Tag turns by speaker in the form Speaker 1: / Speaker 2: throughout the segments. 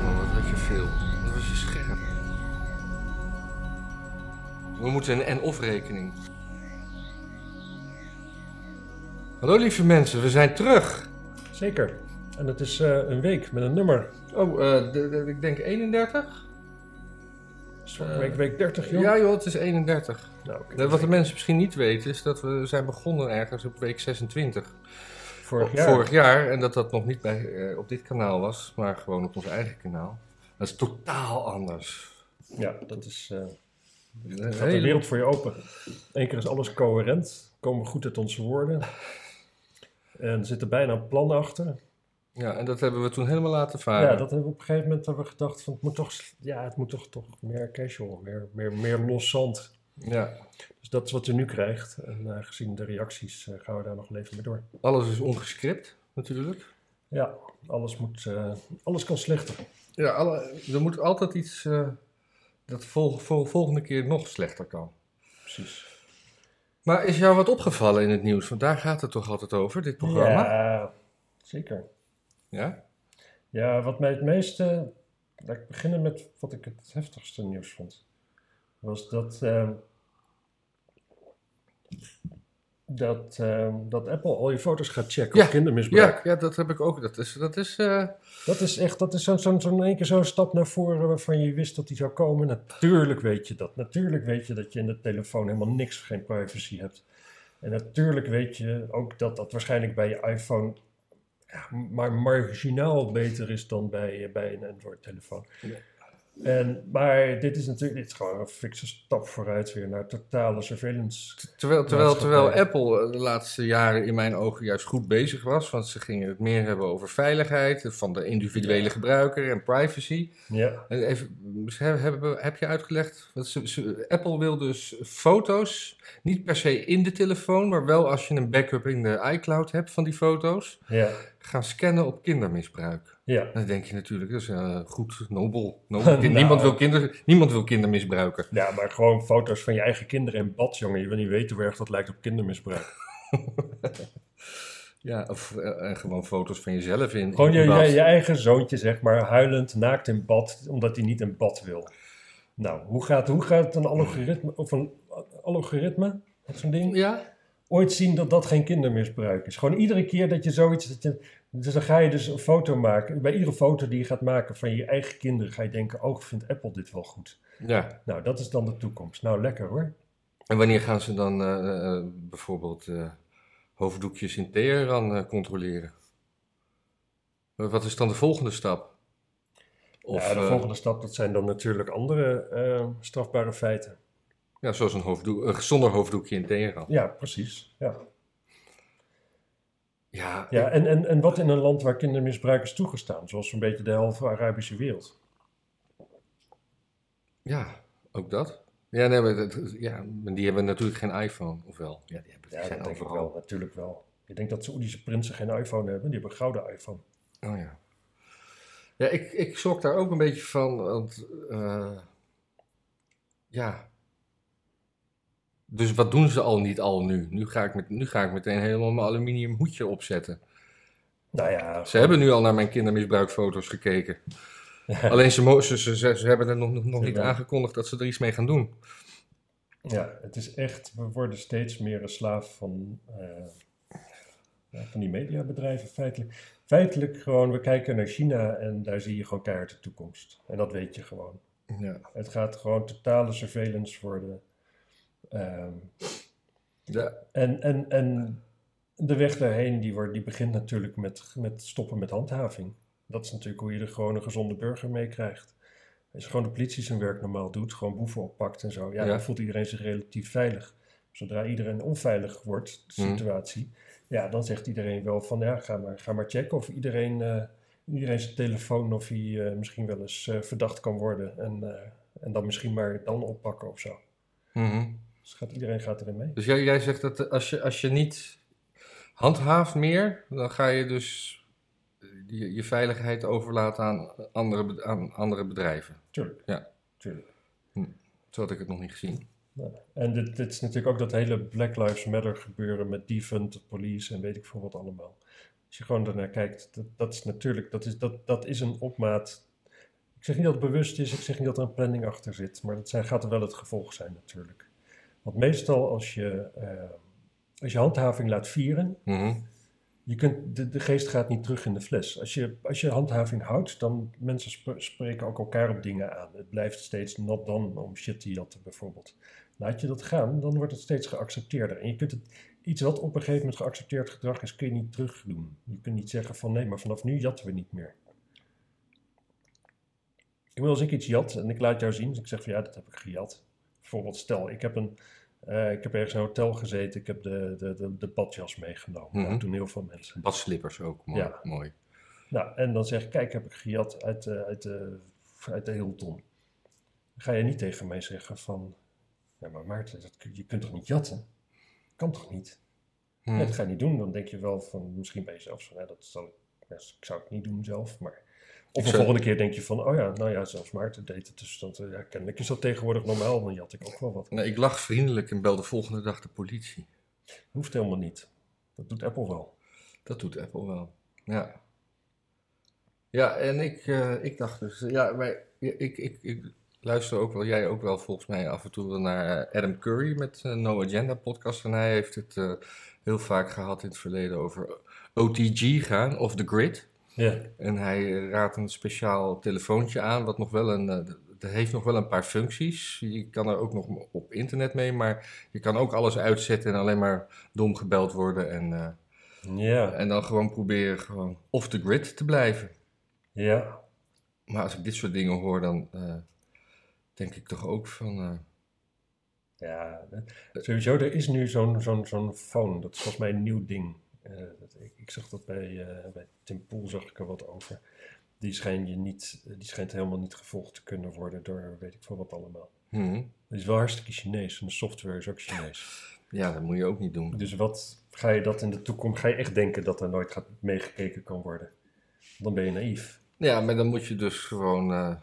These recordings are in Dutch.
Speaker 1: Oh, We moeten een en-of rekening. Hallo lieve mensen, we zijn terug.
Speaker 2: Zeker. En het is eh, een week met een nummer.
Speaker 1: Oh, eh, de- de- ik denk 31?
Speaker 2: Is het
Speaker 1: Eh,
Speaker 2: week, week 30, joh.
Speaker 1: Ja joh, het is 31.
Speaker 2: Nou, oké.
Speaker 1: Eh, Wat de mensen misschien niet weten is dat we zijn begonnen ergens op week 26.
Speaker 2: Vorig
Speaker 1: Op-
Speaker 2: jaar.
Speaker 1: oh, Vorig jaar. En dat dat nog niet bij, eh, op dit kanaal was, maar gewoon op ons eigen kanaal. Dat is totaal anders.
Speaker 2: Ja, dat is... eh
Speaker 1: Een
Speaker 2: gaat de
Speaker 1: hele-
Speaker 2: wereld voor je open. Eén keer is alles coherent. Komen we goed uit onze woorden. En er zitten bijna plannen achter.
Speaker 1: Ah, Ja, en dat hebben we toen helemaal laten varen.
Speaker 2: Ja, dat hebben we op een gegeven moment hebben we gedacht van... Het moet toch, ja, het moet toch, toch meer casual. Meer, meer, meer los zand.
Speaker 1: ja.
Speaker 2: Dus dat is wat je nu krijgt. En eh, gezien de reacties eh, gaan we daar nog wel even mee door.
Speaker 1: Alles is ongescript, natuurlijk.
Speaker 2: Ja, alles, moet, eh, alles kan slechter.
Speaker 1: Ja, alle, er moet altijd iets eh, dat vol, vol- volgende keer nog slechter kan.
Speaker 2: Precies.
Speaker 1: Maar is jou wat opgevallen in het nieuws? Want daar gaat het toch altijd over, dit programma? Ja.
Speaker 2: Ja, zeker. Ja, wat mij het meeste. Laat ik beginnen met wat ik het heftigste nieuws vond. Was dat. ehm, dat, ehm, dat Apple al je foto's gaat checken
Speaker 1: Ja,
Speaker 2: op kindermisbruik.
Speaker 1: Ja, ja, dat heb ik ook. Dat is, dat is eh,
Speaker 2: Dat is echt, dat is zo'n zo, zo in één keer zo'n stap naar voren waarvan je wist dat die zou komen. Natuurlijk weet je dat. Natuurlijk weet je dat je in de telefoon helemaal niks, geen privacy hebt. En natuurlijk weet je ook dat dat waarschijnlijk bij je iPhone ja, maar marginaal beter is dan bij, eh, bij een Android-telefoon.
Speaker 1: Ja.
Speaker 2: En, maar dit is natuurlijk dit is gewoon een fikse stap vooruit weer naar totale surveillance.
Speaker 1: terwijl, terwijl,
Speaker 2: Maatschappij.
Speaker 1: terwijl Apple eh, de laatste jaren in mijn ogen juist goed bezig was. Want ze gingen het meer hebben over veiligheid eh, van de individuele gebruiker en privacy.
Speaker 2: Ja,
Speaker 1: En Even, ze hebben- hebben, heb je uitgelegd? Want ze- ze- Apple wil dus foto's, niet per se in de telefoon, maar wel als je een backup in de iCloud hebt van die foto's,
Speaker 2: ja,
Speaker 1: gaan scannen op kindermisbruik.
Speaker 2: ja.
Speaker 1: Dan denk je natuurlijk, dat is eh, goed, nobel. nobel.
Speaker 2: Nou.
Speaker 1: niemand, wil kinder, niemand wil kindermisbruiken.
Speaker 2: Ja, maar gewoon foto's van je eigen kinderen in bad, jongen. Je wil niet weten hoe erg dat lijkt op kindermisbruik.
Speaker 1: Ja, of eh, eh, gewoon foto's van jezelf in.
Speaker 2: Gewoon
Speaker 1: in
Speaker 2: je, je,
Speaker 1: bad.
Speaker 2: je eigen zoontje, zeg maar, huilend, naakt in bad, omdat hij niet in bad wil. Nou, hoe gaat, hoe gaat een algoritme, of een algoritme, wat zo'n ding,
Speaker 1: Ja?
Speaker 2: ooit zien dat dat geen kindermisbruik is? Gewoon iedere keer dat je zoiets, dat je, dus dan ga je dus een foto maken. Bij iedere foto die je gaat maken van je eigen kinderen, ga je denken, oh, vindt Apple dit wel goed?
Speaker 1: ja.
Speaker 2: Nou, dat is dan de toekomst. Nou, lekker hoor.
Speaker 1: En wanneer gaan ze dan eh, eh, bijvoorbeeld eh, hoofddoekjes in Teheran eh, controleren? Wat wat is dan de volgende stap? Of,
Speaker 2: ja, de
Speaker 1: eh,
Speaker 2: volgende stap, dat zijn dan natuurlijk andere eh, strafbare feiten.
Speaker 1: Ja, zoals een hoofddoek, eh, zonder hoofddoekje in Teheran.
Speaker 2: Ja, precies. Ja.
Speaker 1: Ja,
Speaker 2: Ja, en, en, en wat in een land waar kindermisbruik is toegestaan, zoals een beetje de helft van de Arabische wereld.
Speaker 1: ja, ook dat. Ja, nee, maar dat- ja, maar die hebben natuurlijk geen iPhone, of wel? Ja, die hebben die
Speaker 2: Ja,
Speaker 1: zijn
Speaker 2: dat denk ik
Speaker 1: overal.
Speaker 2: wel, natuurlijk wel. Ik denk dat Saoedische prinsen geen iPhone hebben, die hebben een gouden iPhone.
Speaker 1: Oh ja. Ja, ik, ik schrok daar ook een beetje van, want eh, ja. Dus wat doen ze al niet al nu? Nu ga ik, met, nu ga ik meteen helemaal mijn aluminium hoedje opzetten.
Speaker 2: Nou ja,
Speaker 1: Ze hebben nu al naar mijn kindermisbruikfoto's gekeken. Alleen ze, mo- ze, ze, ze hebben er nog, nog- nog niet
Speaker 2: Ja.
Speaker 1: aangekondigd dat ze er iets mee gaan doen.
Speaker 2: ja, het is echt, we worden steeds meer een slaaf van, eh, ja, van die mediabedrijven feitelijk. Feitelijk gewoon, we kijken naar China en daar zie je gewoon keihard de toekomst. En dat weet je gewoon.
Speaker 1: Ja.
Speaker 2: Het gaat gewoon totale surveillance worden. Ehm,
Speaker 1: Ja,
Speaker 2: En, en, en de weg daarheen die, wordt, die begint natuurlijk met, met stoppen met handhaving. Dat is natuurlijk hoe je er gewoon een gezonde burger mee krijgt. Als je gewoon de politie zijn werk normaal doet, gewoon boeven oppakt en zo, ja,
Speaker 1: Ja.
Speaker 2: dan voelt iedereen zich relatief veilig. Zodra iedereen onveilig wordt, de
Speaker 1: Mhm.
Speaker 2: situatie, ja, dan zegt iedereen wel van ja, ga maar, ga maar checken of iedereen, eh, iedereen zijn telefoon of hij eh, misschien wel eens eh, verdacht kan worden. En, eh, en dan misschien maar dan oppakken of zo.
Speaker 1: mhm.
Speaker 2: Dus gaat, iedereen gaat erin mee.
Speaker 1: Dus jij, jij zegt dat eh, als je, als je niet handhaaft meer, dan ga je dus je, je veiligheid overlaten aan andere, be- aan andere bedrijven.
Speaker 2: Tuurlijk.
Speaker 1: Ja.
Speaker 2: Tuurlijk.
Speaker 1: Zo had ik het nog niet gezien.
Speaker 2: Nou, En dit, dit is natuurlijk ook dat hele Black Lives Matter gebeuren met defund, police en weet ik veel wat allemaal. Als je gewoon daarnaar kijkt, dat, dat is natuurlijk, dat is, dat, dat is een opmaat. Ik zeg niet dat het bewust is, ik zeg niet dat er een planning achter zit, maar dat zijn, gaat er wel het gevolg zijn natuurlijk. Want meestal als je, eh, als je handhaving laat vieren,
Speaker 1: mhm.
Speaker 2: je kunt, de, de geest gaat niet terug in de fles. Als je, als je handhaving houdt, dan mensen sp- spreken ook elkaar op dingen aan. Het blijft steeds not dan om shit die jatten bijvoorbeeld. Laat je dat gaan, dan wordt het steeds geaccepteerder. En je kunt het, iets wat op een gegeven moment geaccepteerd gedrag is, kun je niet terugdoen. Je kunt niet zeggen van nee, maar vanaf nu jatten we niet meer. Ik bedoel, als ik iets jat en ik laat jou zien, dus ik zeg van ja, dat heb ik gejat. Bijvoorbeeld stel, ik heb, een, eh, ik heb ergens in een hotel gezeten, ik heb de, de, de, de badjas meegenomen.
Speaker 1: Mhm.
Speaker 2: Nou, toen heel veel mensen.
Speaker 1: Badslippers ook, mooi.
Speaker 2: Ja.
Speaker 1: mooi.
Speaker 2: Nou, en dan zeg ik, kijk, heb ik gejat uit, eh, uit, de uit de Hilton. Dan ga je niet tegen mij zeggen van, ja maar Maarten, dat, kun- je kunt toch niet jatten? Kan toch niet?
Speaker 1: Hm.
Speaker 2: Nee, dat ga je niet doen. Dan denk je wel van, misschien bij jezelf van, nou, dat zal ik, ja, ik zou het niet doen zelf, maar... Of de
Speaker 1: zou-
Speaker 2: volgende keer denk je van, oh ja, nou ja, zelfs Maarten deed het, dus dat, eh, ja, kennelijk is dat tegenwoordig normaal, dan jat ik ook wel wat.
Speaker 1: Nou, ik lag vriendelijk en belde volgende dag de politie.
Speaker 2: Hoeft helemaal niet. Dat doet Apple wel.
Speaker 1: Dat doet Apple wel. Ja. Ja, en ik, eh, ik dacht dus, ja, maar ik, ik, ik, ik luister ook wel, jij ook wel volgens mij af en toe wel naar eh, Adam Curry met eh, No Agenda podcast. En hij heeft het eh, heel vaak gehad in het verleden over OTG gaan, of the grid.
Speaker 2: Ja,
Speaker 1: En hij eh, raadt een speciaal telefoontje aan, wat nog wel een. eh, d- dat heeft nog wel een paar functies. Je kan er ook nog m- op internet mee, maar je kan ook alles uitzetten en alleen maar dom gebeld worden. En, eh,
Speaker 2: ja,
Speaker 1: en dan gewoon proberen gewoon off the grid te blijven.
Speaker 2: ja.
Speaker 1: Maar als ik dit soort dingen hoor, dan eh, denk ik toch ook van. eh,
Speaker 2: Ja, eh, sowieso, er is nu zo'n zo'n zo'n phone. Dat is volgens mij een nieuw ding. Eh, dat, ik, ik zag dat bij, eh, bij Tim Poel zag ik er wat over. Die schijnt, je niet, eh, die schijnt helemaal niet gevolgd te kunnen worden door weet ik veel wat allemaal.
Speaker 1: hm,
Speaker 2: Het is wel hartstikke Chinees en de software is ook Chinees.
Speaker 1: ja, dat moet je ook niet doen.
Speaker 2: Dus wat ga je dat in de toekomst, ga je echt denken dat er nooit gaat, meegekeken kan worden? Dan ben je naïef.
Speaker 1: Ja, maar dan moet je dus gewoon, eh,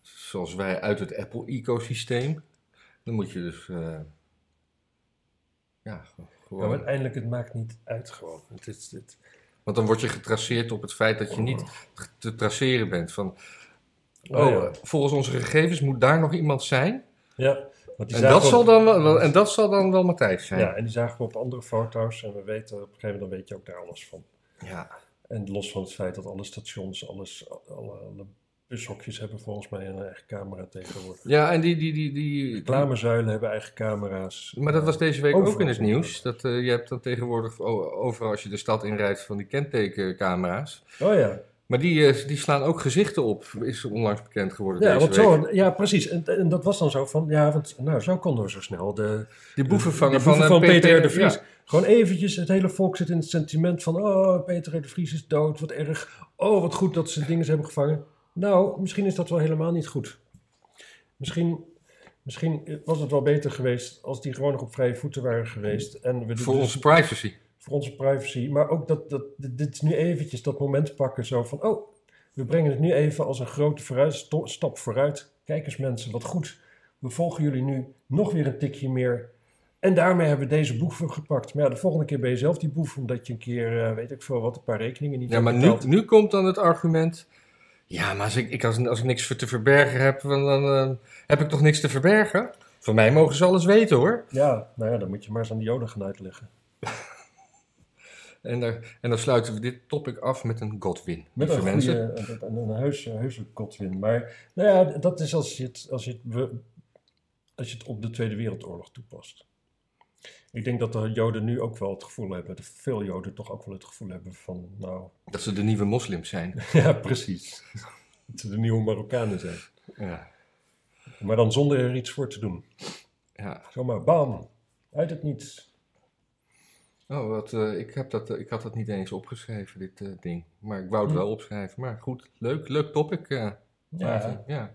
Speaker 1: zoals wij uit het Apple-ecosysteem, dan moet je dus, eh, ja, ge-
Speaker 2: Maar
Speaker 1: gewoon.
Speaker 2: uiteindelijk, het maakt niet uit gewoon. Het is, het,
Speaker 1: Want dan word je getraceerd op het feit dat je niet te traceren bent. Van, oh,
Speaker 2: Oh, ja.
Speaker 1: eh, volgens onze gegevens moet daar nog iemand zijn.
Speaker 2: ja, want die
Speaker 1: En
Speaker 2: zagen
Speaker 1: dat,
Speaker 2: ook-
Speaker 1: zal dan wel, wel- en dat zal dan wel Matthijs zijn.
Speaker 2: Ja, en die zagen we op andere foto's en we weten op een gegeven moment dan weet je ook daar alles van.
Speaker 1: Ja.
Speaker 2: En los van het feit dat alle stations, alles, alle, alle bushokjes hebben volgens mij een eigen camera tegenwoordig.
Speaker 1: Ja, en die, die, die, die,
Speaker 2: Reclamezuilen hebben eigen camera's. Eh,
Speaker 1: Maar dat was deze week ook
Speaker 2: Overal.
Speaker 1: in het nieuws. Dat, eh, je hebt dan tegenwoordig o- overal als je de stad inrijdt van die kentekencamera's.
Speaker 2: Oh ja,
Speaker 1: Maar die, eh, die slaan ook gezichten op, is onlangs bekend geworden
Speaker 2: ja,
Speaker 1: deze
Speaker 2: want
Speaker 1: week.
Speaker 2: zo, ja precies. En, en dat was dan zo van, ja, want nou, zo konden we zo snel. De,
Speaker 1: Die boevenvanger
Speaker 2: de boeven
Speaker 1: van, eh,
Speaker 2: van Peter R. de Vries.
Speaker 1: ja.
Speaker 2: Gewoon eventjes, het hele volk zit in het sentiment van, oh, Peter R. de Vries is dood, wat erg. Oh, wat goed dat ze dingen hebben gevangen. Nou, misschien is dat wel helemaal niet goed. Misschien, misschien was het wel beter geweest als die gewoon nog op vrije voeten waren geweest. En we
Speaker 1: voor
Speaker 2: dus-
Speaker 1: onze privacy.
Speaker 2: voor onze privacy. Maar ook dat, dat dit dit is nu eventjes dat moment pakken zo van, oh, we brengen het nu even als een grote vooruit, sto- stap vooruit. Kijk eens mensen, wat goed. We volgen jullie nu nog weer een tikje meer. En daarmee hebben we deze boef gepakt. Maar ja, de volgende keer ben je zelf die boef, omdat je een keer, eh, weet ik veel wat, een paar rekeningen niet
Speaker 1: Ja, maar
Speaker 2: hebt
Speaker 1: nu,
Speaker 2: betaald.
Speaker 1: nu komt dan het argument. Ja, maar als ik, ik, als, als ik niks voor te verbergen heb, dan, dan eh, heb ik toch niks te verbergen? Van mij mogen ze alles weten hoor.
Speaker 2: Ja, nou ja, dan moet je maar eens aan de joden gaan uitleggen.
Speaker 1: En, daar, en dan sluiten we dit topic af met een Godwin.
Speaker 2: Met
Speaker 1: lieve
Speaker 2: een goede, een, een, een heuse, heuse Godwin. Maar nou ja, dat is als je, het, als, je het, we- als je het op de Tweede Wereldoorlog toepast. Ik denk dat de Joden nu ook wel het gevoel hebben, dat veel Joden toch ook wel het gevoel hebben van, nou,
Speaker 1: Dat ze de nieuwe moslims zijn.
Speaker 2: ja, precies. Dat ze de nieuwe Marokkanen zijn.
Speaker 1: ja.
Speaker 2: Maar dan zonder er iets voor te doen.
Speaker 1: ja.
Speaker 2: Zomaar, bam, uit het niets.
Speaker 1: Oh, wat, eh, ik, heb dat, eh, ik had dat niet eens opgeschreven, dit eh, ding. Maar ik wou het
Speaker 2: Hm.
Speaker 1: wel opschrijven. Maar goed, leuk, leuk topic. eh, Maarten, ja.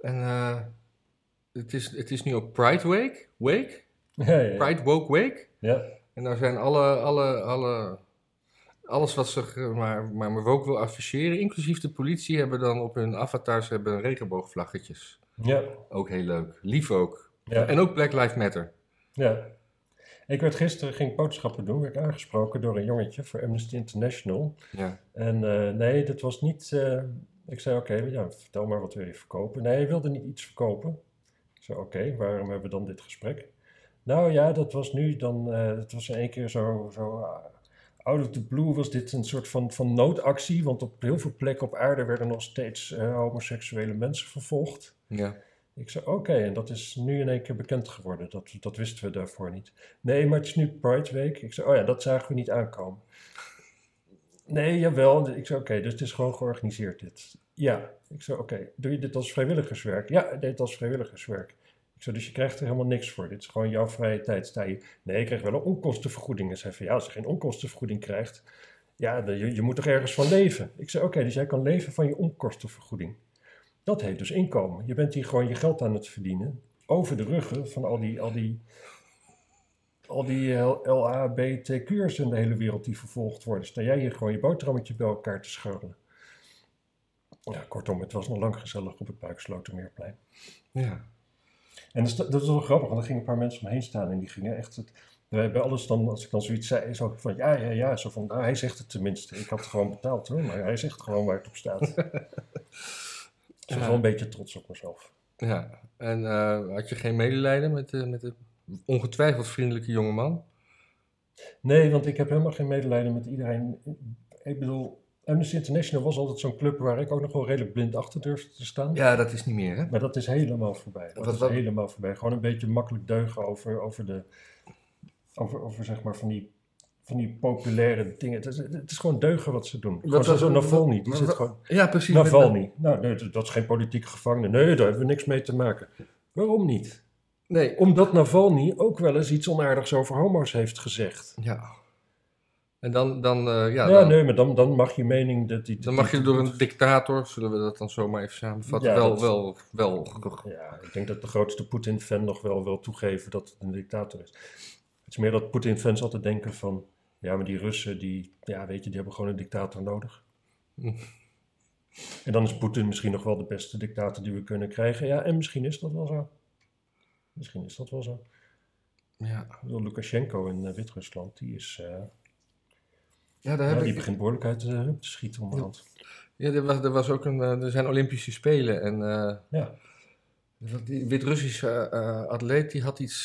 Speaker 1: En eh, het, is, het is nu ook Pride Week. Wake?
Speaker 2: Ja, ja,
Speaker 1: Pride Woke Week.
Speaker 2: ja.
Speaker 1: En daar zijn alle, alle, alle, alles wat ze eh, maar, maar, maar ook wil afficheren, inclusief de politie, hebben dan op hun avatars hebben regenboogvlaggetjes.
Speaker 2: ja.
Speaker 1: Ook heel leuk. Lief ook.
Speaker 2: ja.
Speaker 1: En ook Black Lives Matter.
Speaker 2: Ja. Ik werd gisteren, ging ik boodschappen doen, werd aangesproken door een jongetje voor Amnesty International.
Speaker 1: Ja.
Speaker 2: En eh, nee, dat was niet... eh, ik zei, oké, ja, vertel maar wat wil je verkopen. Nee, hij wilde niet iets verkopen. Ik zo, oké, waarom hebben we dan dit gesprek? Nou ja, dat was nu dan, eh het was in één keer zo, zo ah, out of the blue was dit een soort van, van noodactie, want op heel veel plekken op aarde werden nog steeds eh, homoseksuele mensen vervolgd.
Speaker 1: Ja.
Speaker 2: Ik zei, oké, en dat is nu in één keer bekend geworden. Dat, dat wisten we daarvoor niet. Nee, maar het is nu Pride Week. Ik zei, oh ja, dat zagen we niet aankomen. Nee, jawel. Ik zei, oké, dus het is gewoon georganiseerd dit. Ja. Ik zei, oké, doe je dit als vrijwilligerswerk? Ja, ik deed het als vrijwilligerswerk. Ik zei, dus je krijgt er helemaal niks voor. Dit is gewoon jouw vrije tijd. Sta je, nee, je krijgt wel een onkostenvergoeding. En zei van, ja, als je geen onkostenvergoeding krijgt, ja, dan- je, je moet toch ergens van leven? Ik zei, oké, dus jij kan leven van je onkostenvergoeding. Dat heet dus inkomen. Je bent hier gewoon je geld aan het verdienen. Over de ruggen van al die, al die, al die eh, LHBTQ'ers in de hele wereld die vervolgd worden. Sta jij hier gewoon je boterhammetje bij elkaar te scharrelen. Ja, kortom, het was nog lang gezellig op het Buikslotermeerplein.
Speaker 1: Ja.
Speaker 2: En dat is, dat is wel grappig, want er gingen een paar mensen omheen staan en die gingen echt... Het, bij bij alles dan, als ik dan zoiets zei, zo van ja, ja, ja, zo van, nou, hij zegt het tenminste. Ik had het gewoon betaald hoor, maar hij zegt gewoon waar het op staat. Dus ik was wel een beetje trots op mezelf.
Speaker 1: ja. En eh, had je geen medelijden met, eh, met de ongetwijfeld vriendelijke jongeman?
Speaker 2: Nee, want ik heb helemaal geen medelijden met iedereen. Ik bedoel, Amnesty International was altijd zo'n club waar ik ook nog wel redelijk blind achter durfde te staan.
Speaker 1: Ja, dat is niet meer, hè?
Speaker 2: Maar dat is helemaal voorbij. Dat
Speaker 1: Wat-
Speaker 2: is
Speaker 1: wat-
Speaker 2: helemaal voorbij. Gewoon een beetje makkelijk deugen over, over de. Over, over zeg maar van die. Van die populaire dingen. Het is, het is gewoon deugen wat ze doen. Gewoon
Speaker 1: Wat-
Speaker 2: zo
Speaker 1: wat-
Speaker 2: zo'n
Speaker 1: wat-
Speaker 2: Navalny. Die
Speaker 1: wat-
Speaker 2: zit
Speaker 1: wat-
Speaker 2: gewoon.
Speaker 1: Ja, precies.
Speaker 2: Navalny. Nou, nee, dat- dat is geen politieke gevangene. Nee, daar hebben we niks mee te maken. Waarom niet?
Speaker 1: Nee.
Speaker 2: Omdat Navalny ook wel eens iets onaardigs over homo's heeft gezegd.
Speaker 1: Ja. En dan, dan, eh, ja,
Speaker 2: Ja,
Speaker 1: dan,
Speaker 2: nee, maar dan, dan mag je mening... Dat die,
Speaker 1: dan mag je
Speaker 2: die-
Speaker 1: door een dictator, zullen we dat dan zomaar even samenvatten,
Speaker 2: Ja,
Speaker 1: wel,
Speaker 2: dat-
Speaker 1: wel, wel,
Speaker 2: Ja, ik denk dat de grootste Poetin-fan nog wel wil toegeven dat het een dictator is. Het is meer dat Poetin-fans altijd denken van... Ja, maar die Russen, die, ja, weet je, die hebben gewoon een dictator nodig.
Speaker 1: Mm.
Speaker 2: En dan is Poetin misschien nog wel de beste dictator die we kunnen krijgen. Ja, en misschien is dat wel zo. Misschien is dat wel zo. Ik
Speaker 1: Ja.
Speaker 2: bedoel, Lukashenko in eh, Wit-Rusland, die is... eh,
Speaker 1: Ja, daar
Speaker 2: ja,
Speaker 1: heb
Speaker 2: die
Speaker 1: ik...
Speaker 2: begint behoorlijk uit de heup te schieten onderhand.
Speaker 1: ja er, was, er, was ook een, eh, er zijn Olympische Spelen en eh,
Speaker 2: Ja,
Speaker 1: die Wit-Russische eh, eh, atleet die had iets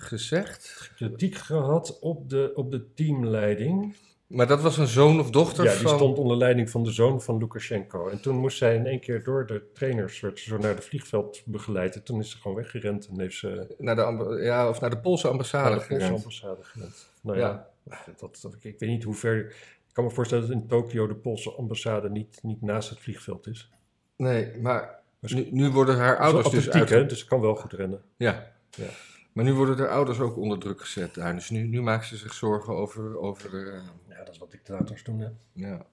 Speaker 1: gezegd.
Speaker 2: kritiek gehad op de, op de teamleiding...
Speaker 1: Maar dat was een zoon of dochter
Speaker 2: Ja,
Speaker 1: van...
Speaker 2: die stond onder leiding van de zoon van Lukashenko. En toen moest zij in één keer door de trainers, werd ze zo naar het vliegveld begeleid. En toen is ze gewoon weggerend en heeft ze
Speaker 1: Naar de, amb- ja, of naar de Poolse ambassade
Speaker 2: naar de Poolse
Speaker 1: gerend.
Speaker 2: ambassade gerend. Nou ja, Dat, dat, ik, ik weet niet hoe ver... Ik kan me voorstellen dat in Tokio de Poolse ambassade niet, niet naast het vliegveld is.
Speaker 1: Nee, maar
Speaker 2: Dus-
Speaker 1: nu, nu worden haar
Speaker 2: Ouders
Speaker 1: ouders dus
Speaker 2: atletiek,
Speaker 1: uit...
Speaker 2: hè, dus ze kan wel goed rennen.
Speaker 1: Ja.
Speaker 2: Ja.
Speaker 1: Maar nu worden haar ouders ook onder druk gezet daar. Dus nu, nu maken ze zich zorgen over... over eh,
Speaker 2: Ja, dat is wat dictators doen, hè.
Speaker 1: ja.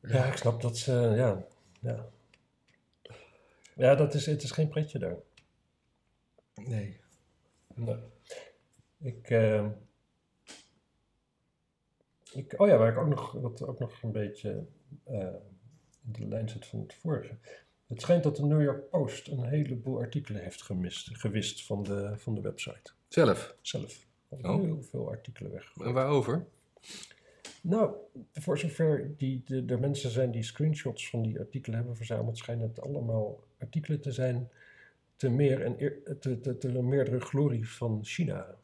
Speaker 2: Ja, ik snap dat ze... Ja, ja. ja dat is, het is geen pretje daar.
Speaker 1: Nee.
Speaker 2: Nee. Ik, eh, ik, oh ja, waar ik ook nog, wat ook nog een beetje eh, in de lijn zit van het vorige. Het schijnt dat de New York Post een heleboel artikelen heeft gemist, gewist van de, van de website
Speaker 1: Zelf.
Speaker 2: zelf. Er
Speaker 1: Oh.
Speaker 2: heel veel artikelen weg.
Speaker 1: En waarover?
Speaker 2: Nou, voor zover die, de, de mensen zijn die screenshots van die artikelen hebben verzameld, schijnen het allemaal artikelen te zijn te meer en eer- te, te, te meerdere glorie van China.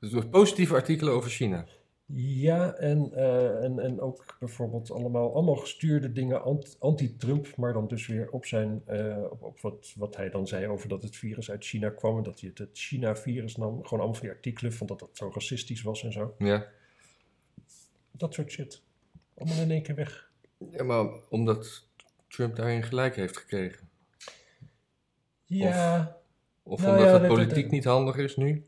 Speaker 1: Dus door positieve artikelen over China.
Speaker 2: Ja, en, eh, en, en ook bijvoorbeeld allemaal, allemaal gestuurde dingen ant- anti-Trump, maar dan dus weer op zijn, eh, op, op wat, wat hij dan zei over dat het virus uit China kwam en dat hij het, het China-virus nam. Gewoon allemaal van die artikelen van dat dat zo racistisch was en zo.
Speaker 1: Ja.
Speaker 2: Dat soort shit. Allemaal in één keer weg.
Speaker 1: ja. Maar omdat Trump daarin gelijk heeft gekregen.
Speaker 2: Ja,
Speaker 1: Of
Speaker 2: Nou
Speaker 1: omdat
Speaker 2: ja,
Speaker 1: het
Speaker 2: dat- dat-
Speaker 1: politiek niet handig is nu.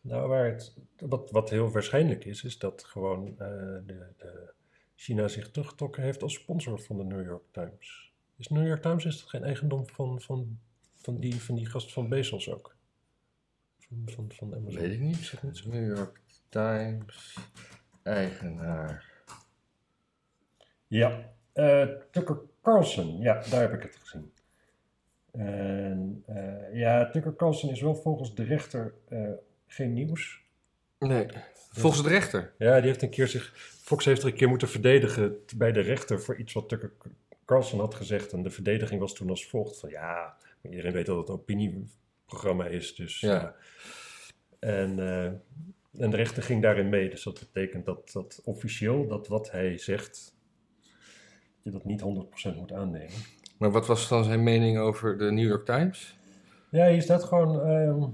Speaker 2: nou waar het, wat, wat heel waarschijnlijk is, is dat gewoon eh, de, de China zich teruggetrokken heeft als sponsor van de New York Times. Is New York Times is dat geen eigendom van, van, van, die, van die gast van Bezos ook? Van, van, van Amazon?
Speaker 1: Weet ik niet. New York Times eigenaar.
Speaker 2: Ja, eh, Tucker Carlson, ja, daar heb ik het gezien. En, eh, ja, Tucker Carlson is wel volgens de rechter eh, geen nieuws.
Speaker 1: Nee, volgens de rechter.
Speaker 2: Ja, die heeft een keer zich. Fox heeft er een keer moeten verdedigen t- bij de rechter voor iets wat Tucker Carlson Carlson had gezegd, en de verdediging was toen als volgt: van ja, iedereen weet dat het een opinieprogramma is. Dus,
Speaker 1: Ja.
Speaker 2: eh, en, eh, en de rechter ging daarin mee. Dus dat betekent dat, dat officieel dat wat hij zegt, dat je dat niet 100% moet aannemen.
Speaker 1: Maar wat was dan zijn mening over de New York Times?
Speaker 2: Ja, hier staat gewoon. ehm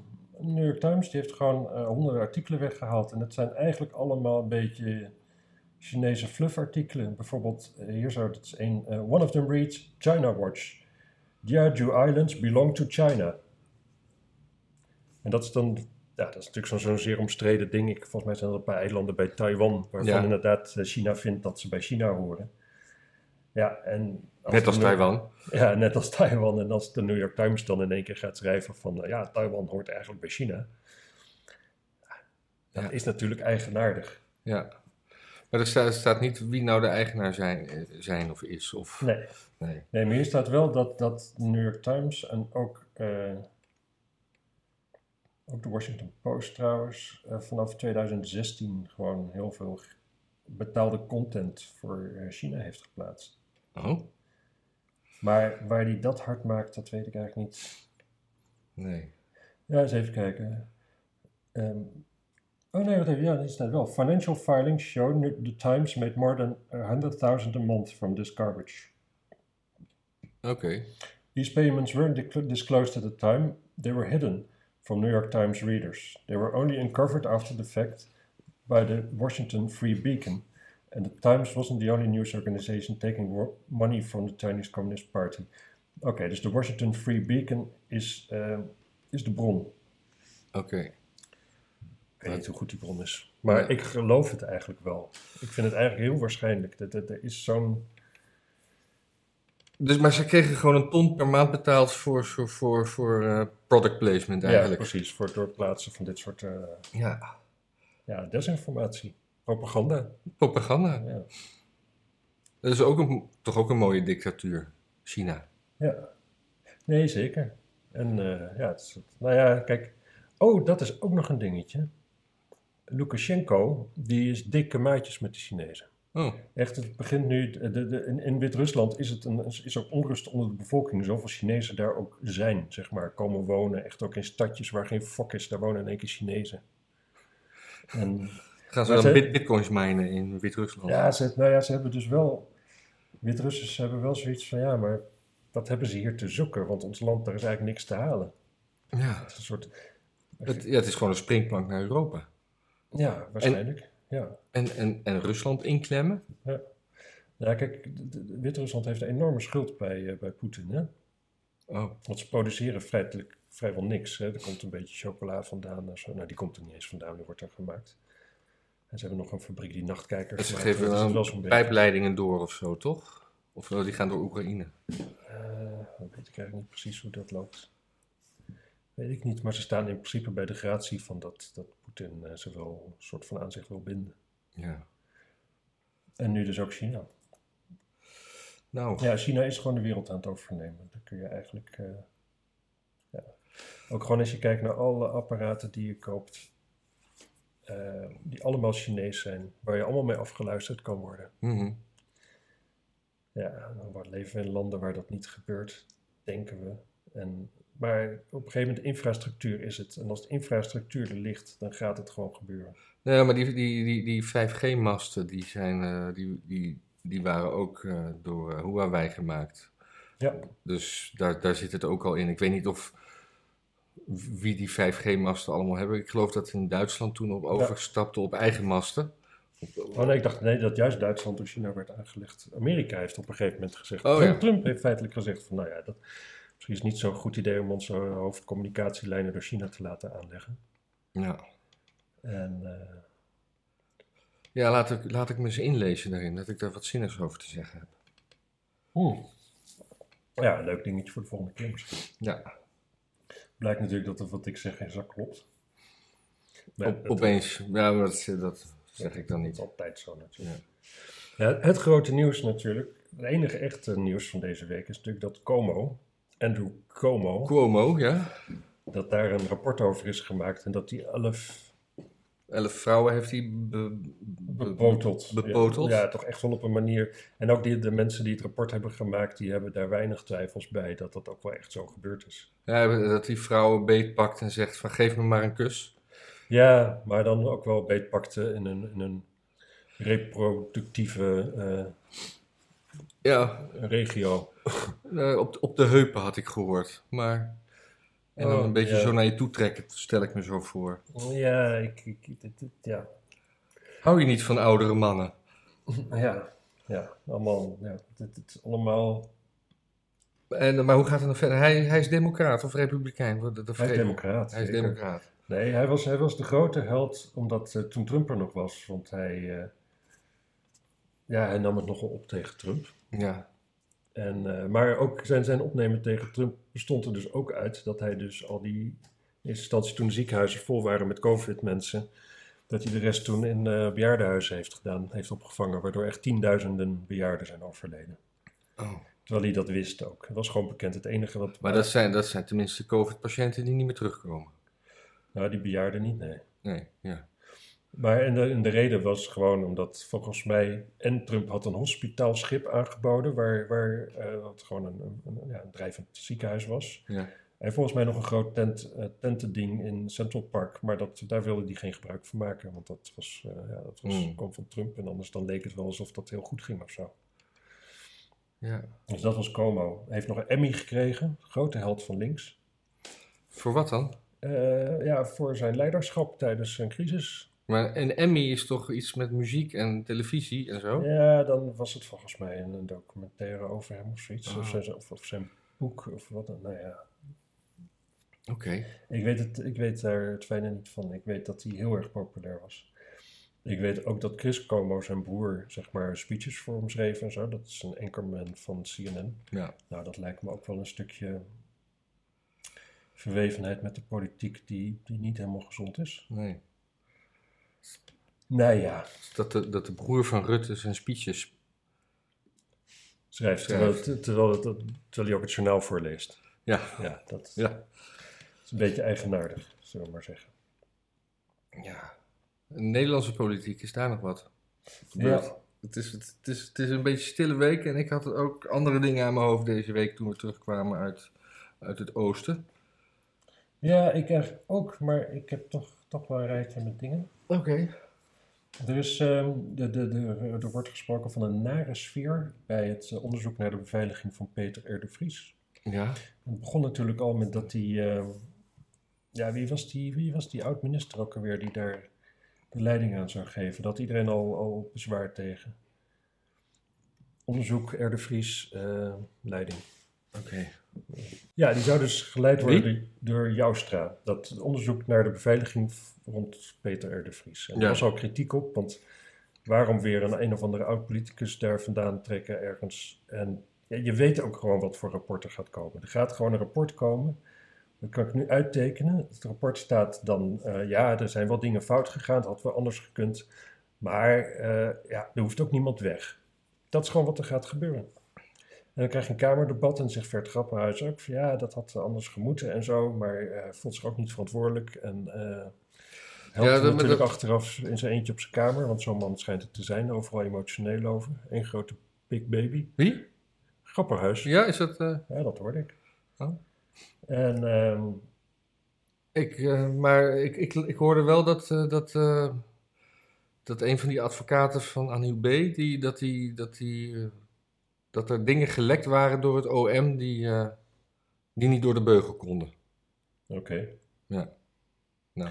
Speaker 2: New York Times die heeft gewoon eh, honderden artikelen weggehaald. En dat zijn eigenlijk allemaal een beetje Chinese fluffartikelen. Bijvoorbeeld, eh, hier zou het een. eh, one of them reads China Watch. Jeju Islands belong to China. En dat is dan. Ja, dat is natuurlijk zo'n zo'n zeer omstreden ding. Ik, volgens mij zijn er een paar eilanden bij Taiwan. waarvan
Speaker 1: Ja.
Speaker 2: inderdaad eh, China vindt dat ze bij China horen. Ja, en.
Speaker 1: Net als
Speaker 2: de-
Speaker 1: Taiwan.
Speaker 2: ja, net als Taiwan. En als de New York Times dan in één keer gaat schrijven van... nou ja, Taiwan hoort eigenlijk bij China. Dat
Speaker 1: Ja.
Speaker 2: is natuurlijk eigenaardig.
Speaker 1: Ja. Maar er staat, staat niet wie nou de eigenaar zijn, eh, zijn of is. Of,
Speaker 2: Nee.
Speaker 1: nee.
Speaker 2: nee, maar hier staat wel dat, dat de New York Times en ook... eh, ook de Washington Post trouwens... eh, vanaf 2016 gewoon heel veel betaalde content voor eh, China heeft geplaatst.
Speaker 1: Oh?
Speaker 2: Maar waar die dat hard maakt, dat weet ik eigenlijk niet.
Speaker 1: Nee.
Speaker 2: Ja, eens even kijken. Ehm, oh nee, wat even. Ja, die staat wel. Financial filings show nu- the Times made more than 100,000 a month from this garbage.
Speaker 1: Oké.
Speaker 2: These payments weren't dic- disclosed at the time, they were hidden from New York Times readers. They were only uncovered after the fact by the Washington Free Beacon. And the Times wasn't the only news organization taking wo- money from the Chinese Communist Party. Oké, dus de Washington Free Beacon is, ehm, is de bron.
Speaker 1: Oké.
Speaker 2: Ik weet niet hoe goed die bron is. Maar ik geloof het eigenlijk wel. Ik vind het eigenlijk heel waarschijnlijk. Dat, dat, er is zo'n...
Speaker 1: Dus, maar ze kregen gewoon een ton per maand betaald voor, voor, voor, voor eh, product placement
Speaker 2: Ja,
Speaker 1: eigenlijk.
Speaker 2: precies. Voor het doorplaatsen van dit soort eh,
Speaker 1: Ja,
Speaker 2: ja, desinformatie. Propaganda.
Speaker 1: propaganda.
Speaker 2: Ja.
Speaker 1: Dat is ook een, toch ook een mooie dictatuur, China.
Speaker 2: ja. Nee, zeker. En eh, ja, het is, nou ja, kijk. Oh, dat is ook nog een dingetje. Lukashenko, die is dikke maatjes met de Chinezen.
Speaker 1: Oh,
Speaker 2: Echt, het begint nu. De, de, in, in Wit-Rusland is het een, is ook onrust onder de bevolking. Zoveel Chinezen daar ook zijn, zeg maar, komen wonen. Echt ook in stadjes waar geen fok is, daar wonen in één keer Chinezen. En,
Speaker 1: gaan ze
Speaker 2: Maar
Speaker 1: dan
Speaker 2: ze-
Speaker 1: bit- bitcoins minen in Wit-Rusland?
Speaker 2: ja, ze, nou ja, ze hebben dus wel. Wit-Russen ze hebben wel zoiets van ja, maar wat hebben ze hier te zoeken? Want ons land, daar is eigenlijk niks te halen.
Speaker 1: Ja.
Speaker 2: Het is een soort.
Speaker 1: Het, ja, het is gewoon een springplank naar Europa.
Speaker 2: Ja, waarschijnlijk. Ja.
Speaker 1: En, en, en Rusland inklemmen?
Speaker 2: ja, kijk, d- d- Wit-Rusland heeft een enorme schuld bij, eh, bij Poetin, hè?
Speaker 1: Oh,
Speaker 2: Want ze produceren feitelijk vrijwel niks. Hè. Er komt een beetje chocola vandaan. en Zo. Nou, die komt er niet eens vandaan, die wordt er gemaakt. En ze hebben nog een fabriek die nachtkijkers
Speaker 1: ze
Speaker 2: maakt.
Speaker 1: geven
Speaker 2: Dat is
Speaker 1: dan
Speaker 2: wel zo'n beetje.
Speaker 1: pijpleidingen door of zo, toch? Of eh, die gaan door Oekraïne?
Speaker 2: Eh, dat weet ik eigenlijk niet precies hoe dat loopt. Weet ik niet, maar ze staan in principe bij de gratie van dat, dat Poetin eh, ze wel een soort van aan zich wil binden.
Speaker 1: Ja.
Speaker 2: En nu dus ook China.
Speaker 1: Nou,
Speaker 2: Ja, China is gewoon de wereld aan het overnemen. Dan kun je eigenlijk. eh, ja. Ook gewoon als je kijkt naar alle apparaten die je koopt, eh, die allemaal Chinees zijn, waar je allemaal mee afgeluisterd kan worden.
Speaker 1: mhm.
Speaker 2: Ja, dan wordt- leven we in landen waar dat niet gebeurt, denken we. En, maar op een gegeven moment, de infrastructuur is het. En als de infrastructuur er ligt, dan gaat het gewoon gebeuren.
Speaker 1: Nee, maar die, die, die, die 5G-masten, die, zijn, eh, die, die, die waren ook eh, door eh, Huawei gemaakt.
Speaker 2: Ja,
Speaker 1: Dus daar, daar zit het ook al in. Ik weet niet of wie die 5G-masten allemaal hebben. Ik geloof dat in Duitsland toen op overstapte op eigen masten.
Speaker 2: oh nee, ik dacht nee, dat juist Duitsland door China werd aangelegd. Amerika heeft op een gegeven moment gezegd.
Speaker 1: Oh,
Speaker 2: Trump,
Speaker 1: ja.
Speaker 2: Trump heeft feitelijk gezegd van nou ja, dat misschien is het niet zo'n goed idee om onze hoofdcommunicatielijnen door China te laten aanleggen.
Speaker 1: Ja,
Speaker 2: En eh,
Speaker 1: ja laat, ik, laat ik me eens inlezen daarin, dat ik daar wat zinnigs over te zeggen heb.
Speaker 2: hmm. ja, een leuk dingetje voor de volgende keer misschien.
Speaker 1: Ja,
Speaker 2: Blijkt natuurlijk dat het wat ik zeg geen zak klopt. Nee,
Speaker 1: op,
Speaker 2: dat-
Speaker 1: opeens. Ja, maar dat, dat zeg ik dan
Speaker 2: dat is
Speaker 1: niet.
Speaker 2: altijd zo natuurlijk. Ja, het grote nieuws natuurlijk, het enige echte nieuws van deze week is natuurlijk dat Como, Andrew Como,
Speaker 1: Cuomo, ja?
Speaker 2: dat daar een rapport over is gemaakt en dat die elf
Speaker 1: Elf vrouwen heeft hij be- be-
Speaker 2: bepoteld.
Speaker 1: bepoteld.
Speaker 2: Ja, ja, toch echt wel op een manier. En ook die, de mensen die het rapport hebben gemaakt, die hebben daar weinig twijfels bij dat dat ook wel echt zo gebeurd is.
Speaker 1: Ja, dat die vrouwen beetpakt en zegt van geef me maar een kus.
Speaker 2: Ja, maar dan ook wel beetpakte in een, in een reproductieve eh,
Speaker 1: Ja,
Speaker 2: regio.
Speaker 1: eh, op, op de heupen had ik gehoord. Maar, en dan
Speaker 2: Oh,
Speaker 1: een beetje
Speaker 2: ja.
Speaker 1: zo naar je toe trekken, stel ik me zo voor.
Speaker 2: Ja, ik, ik, dit- dit- ja.
Speaker 1: Hou je niet van oudere mannen?
Speaker 2: ja, ja, allemaal, ja, dit, dit is allemaal
Speaker 1: En, maar hoe gaat het dan verder? Hij, hij is democraat of republikein? Wat- Dat, dat
Speaker 2: hij is
Speaker 1: vergeet ik.
Speaker 2: democraat.
Speaker 1: Hij is
Speaker 2: zeker.
Speaker 1: democraat.
Speaker 2: Nee, hij was, hij was de grote held omdat eh, toen Trump er nog was. Want hij, eh, ja, hij nam het nogal op tegen Trump.
Speaker 1: Ja.
Speaker 2: En, eh, maar ook zijn, zijn opnemen tegen Trump bestond er dus ook uit dat hij dus al die in eerste instantie toen de ziekenhuizen vol waren met COVID-mensen, dat hij de rest toen in eh, bejaardenhuizen heeft gedaan, heeft opgevangen, waardoor echt tienduizenden bejaarden zijn overleden.
Speaker 1: Oh.
Speaker 2: Terwijl hij dat wist ook. Het was gewoon bekend. Het enige wat.
Speaker 1: Maar dat zijn, dat zijn tenminste COVID-patiënten die niet meer terugkomen.
Speaker 2: Nou, die bejaarden niet, nee.
Speaker 1: Nee, ja.
Speaker 2: Maar en de, en de reden was gewoon omdat volgens mij. En Trump had een hospitaalschip aangeboden. Waar, waar eh, wat gewoon een, een, een- ja, een drijvend ziekenhuis was.
Speaker 1: ja.
Speaker 2: En volgens mij nog een groot tent, eh, tentending in Central Park. Maar dat, daar wilde hij geen gebruik van maken. Want dat, was, eh, ja, dat was,
Speaker 1: Hmm.
Speaker 2: kwam van Trump. En anders dan leek het wel alsof dat heel goed ging of zo.
Speaker 1: ja.
Speaker 2: Dus dat was Como. Hij heeft nog een Emmy gekregen. Grote held van links.
Speaker 1: Voor wat dan?
Speaker 2: Eh, ja, voor zijn leiderschap tijdens een crisis.
Speaker 1: Maar een Emmy is toch iets met muziek en televisie en zo?
Speaker 2: Ja, dan was het volgens mij een, een documentaire over hem of zoiets. Of,
Speaker 1: Ah.
Speaker 2: zijn, of, of zijn boek of wat dan. Nou ja,
Speaker 1: Oké.
Speaker 2: ik weet, het, ik weet daar het fijne niet van. Ik weet dat hij heel erg populair was. Ik weet ook dat Chris Como, zijn broer, zeg maar speeches voor hem schreef en zo. Dat is een anchorman van CNN.
Speaker 1: Ja.
Speaker 2: Nou, dat lijkt me ook wel een stukje verwevenheid met de politiek die, die niet helemaal gezond is.
Speaker 1: Nee.
Speaker 2: Nou ja,
Speaker 1: Dat de, dat de broer van Rutte zijn speeches.
Speaker 2: schrijft. Terwijl,
Speaker 1: Schrijft.
Speaker 2: het- terwijl, het- terwijl hij ook het journaal voorleest.
Speaker 1: Ja.
Speaker 2: Ja, dat,
Speaker 1: Ja.
Speaker 2: is een beetje eigenaardig, zullen we maar zeggen.
Speaker 1: ja. Nederlandse politiek is daar nog wat. gebeurd.
Speaker 2: Ja.
Speaker 1: Het is, het, is, het is een beetje stille week en ik had ook andere dingen aan mijn hoofd deze week toen we terugkwamen uit, uit het oosten.
Speaker 2: Ja, ik eigenlijk ook, maar ik heb toch, toch wel een rijtje met dingen.
Speaker 1: Oké.
Speaker 2: Er, is, ehm, de, de, de, er wordt gesproken van een nare sfeer bij het eh, onderzoek naar de beveiliging van Peter R. de Vries.
Speaker 1: Ja.
Speaker 2: Het begon natuurlijk al met dat die, ehm, ja, wie was die, wie was die oud-minister ook alweer die daar de leiding aan zou geven? Dat iedereen al, al bezwaar tegen. Onderzoek R. de Vries, eh, leiding.
Speaker 1: Oké.
Speaker 2: Ja, die zou dus geleid
Speaker 1: Wie?
Speaker 2: worden door Joustra. Dat onderzoek naar de beveiliging v- rond Peter R. de Vries. En
Speaker 1: Ja.
Speaker 2: daar was al kritiek op, want waarom weer een een of andere oud-politicus daar vandaan trekken ergens? En ja, je weet ook gewoon wat voor rapport er gaat komen. Er gaat gewoon een rapport komen. Dat kan ik nu uittekenen. Het rapport staat dan, eh, ja, er zijn wel dingen fout gegaan, dat had wel anders gekund. Maar eh, ja, er hoeft ook niemand weg. Dat is gewoon wat er gaat gebeuren. En dan krijg je een kamerdebat en zegt Vert Grappenhuis ook van ja, dat had anders gemoeten en zo, maar eh voelt zich ook niet verantwoordelijk en eh helpt
Speaker 1: Ja,
Speaker 2: hem
Speaker 1: dat-
Speaker 2: natuurlijk
Speaker 1: dat-
Speaker 2: achteraf in zijn eentje op zijn kamer, want zo'n man schijnt het te zijn, overal emotioneel over. Een grote big baby.
Speaker 1: Wie?
Speaker 2: Grappenhuis, ja,
Speaker 1: Ja, is dat. eh,
Speaker 2: dat hoorde ik.
Speaker 1: Oh.
Speaker 2: En ehm,
Speaker 1: Ik, eh, maar ik, ik, ik hoorde wel dat, eh, dat, eh, dat een van die advocaten van Annie B. Die, dat, die, dat, die, eh, dat er dingen gelekt waren door het OM die, eh, die niet door de beugel konden.
Speaker 2: oké,
Speaker 1: Ja. Nou.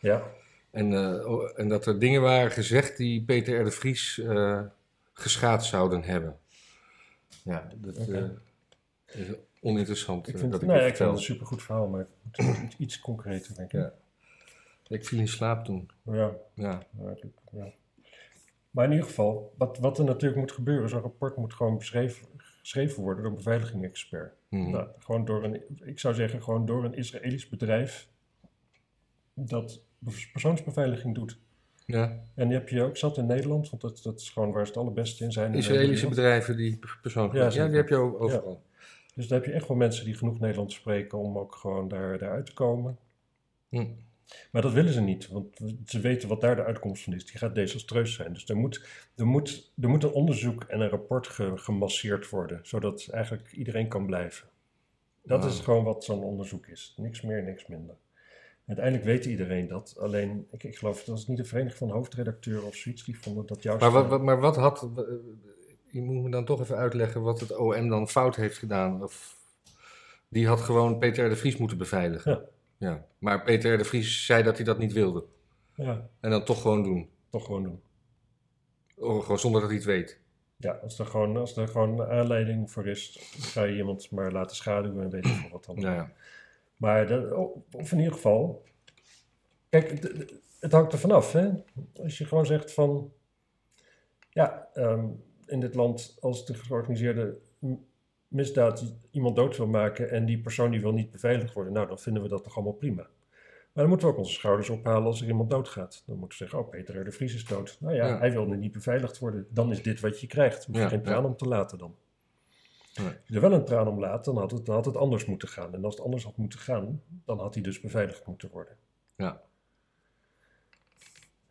Speaker 2: ja.
Speaker 1: En, eh, o- en dat er dingen waren gezegd die Peter R. de Vries eh, geschaad zouden hebben. Ja, dat
Speaker 2: Oké.
Speaker 1: eh, is oninteressant
Speaker 2: Ik
Speaker 1: eh,
Speaker 2: vind,
Speaker 1: dat ik
Speaker 2: nou,
Speaker 1: dit
Speaker 2: ja, ik vind
Speaker 1: vertel.
Speaker 2: het een supergoed verhaal, maar het moet iets, iets concreter, denk ik.
Speaker 1: Ja. Ik viel in slaap toen.
Speaker 2: ja.
Speaker 1: Ja,
Speaker 2: Ja, dat- ja. Maar in ieder geval, wat, wat er natuurlijk moet gebeuren, zo'n rapport moet gewoon beschreven, geschreven worden door een beveiligingsexpert.
Speaker 1: Mhm.
Speaker 2: Nou, gewoon door een, ik zou zeggen, gewoon door een Israëlisch bedrijf dat pers- persoonsbeveiliging doet.
Speaker 1: ja.
Speaker 2: En die heb je ook zat in Nederland, want dat, dat is gewoon waar ze het allerbeste in zijn. in
Speaker 1: Israëlische
Speaker 2: Nederland.
Speaker 1: bedrijven die persoonlijk.
Speaker 2: Ja,
Speaker 1: Ja,
Speaker 2: zeker.
Speaker 1: die heb je o- overal.
Speaker 2: Dus daar heb je echt wel mensen die genoeg Nederlands spreken om ook gewoon daar, daaruit te komen.
Speaker 1: Hm.
Speaker 2: Maar dat willen ze niet, want ze weten wat daar de uitkomst van is. Die gaat desastreus zijn. Dus er moet, er moet, er moet een onderzoek en een rapport ge- gemasseerd worden, zodat eigenlijk iedereen kan blijven. Dat
Speaker 1: Ah.
Speaker 2: is gewoon wat zo'n onderzoek is. Niks meer, niks minder. Uiteindelijk weet iedereen dat. Alleen, ik, ik geloof, dat is niet de Vereniging van Hoofdredacteuren of zoiets, die vonden dat juist... eh,
Speaker 1: Maar wat, wat- maar wat had. w- Je moet me dan toch even uitleggen wat het OM dan fout heeft gedaan. Of, die had gewoon Peter R. de Vries moeten beveiligen.
Speaker 2: Ja.
Speaker 1: Ja. Maar Peter R. de Vries zei dat hij dat niet wilde.
Speaker 2: Ja,
Speaker 1: En dan toch gewoon doen.
Speaker 2: toch gewoon doen.
Speaker 1: Oh, gewoon zonder dat hij het weet.
Speaker 2: Ja, als er gewoon, als er gewoon aanleiding voor is, ga je iemand maar laten schaduwen en weet ik veel wat dan.
Speaker 1: Nou ja.
Speaker 2: Maar, dat, oh, of in ieder geval, kijk, het, het hangt er vanaf. hè. Als je gewoon zegt van, ja, ehm, in dit land, als de georganiseerde m- misdaad iemand dood wil maken en die persoon die wil niet beveiligd worden, nou, dan vinden we dat toch allemaal prima. Maar dan moeten we ook onze schouders ophalen als er iemand doodgaat. Dan moeten we zeggen, oh, Peter R. de Vries is dood. Nou ja,
Speaker 1: Ja.
Speaker 2: hij wilde niet beveiligd worden. Dan is dit wat je krijgt. Hoef je
Speaker 1: Ja,
Speaker 2: geen
Speaker 1: ja.
Speaker 2: traan om te laten dan.
Speaker 1: Nee.
Speaker 2: Als je er wel een traan om laat, dan had, het, dan had het anders moeten gaan. En als het anders had moeten gaan, dan had hij dus beveiligd moeten worden.
Speaker 1: Ja.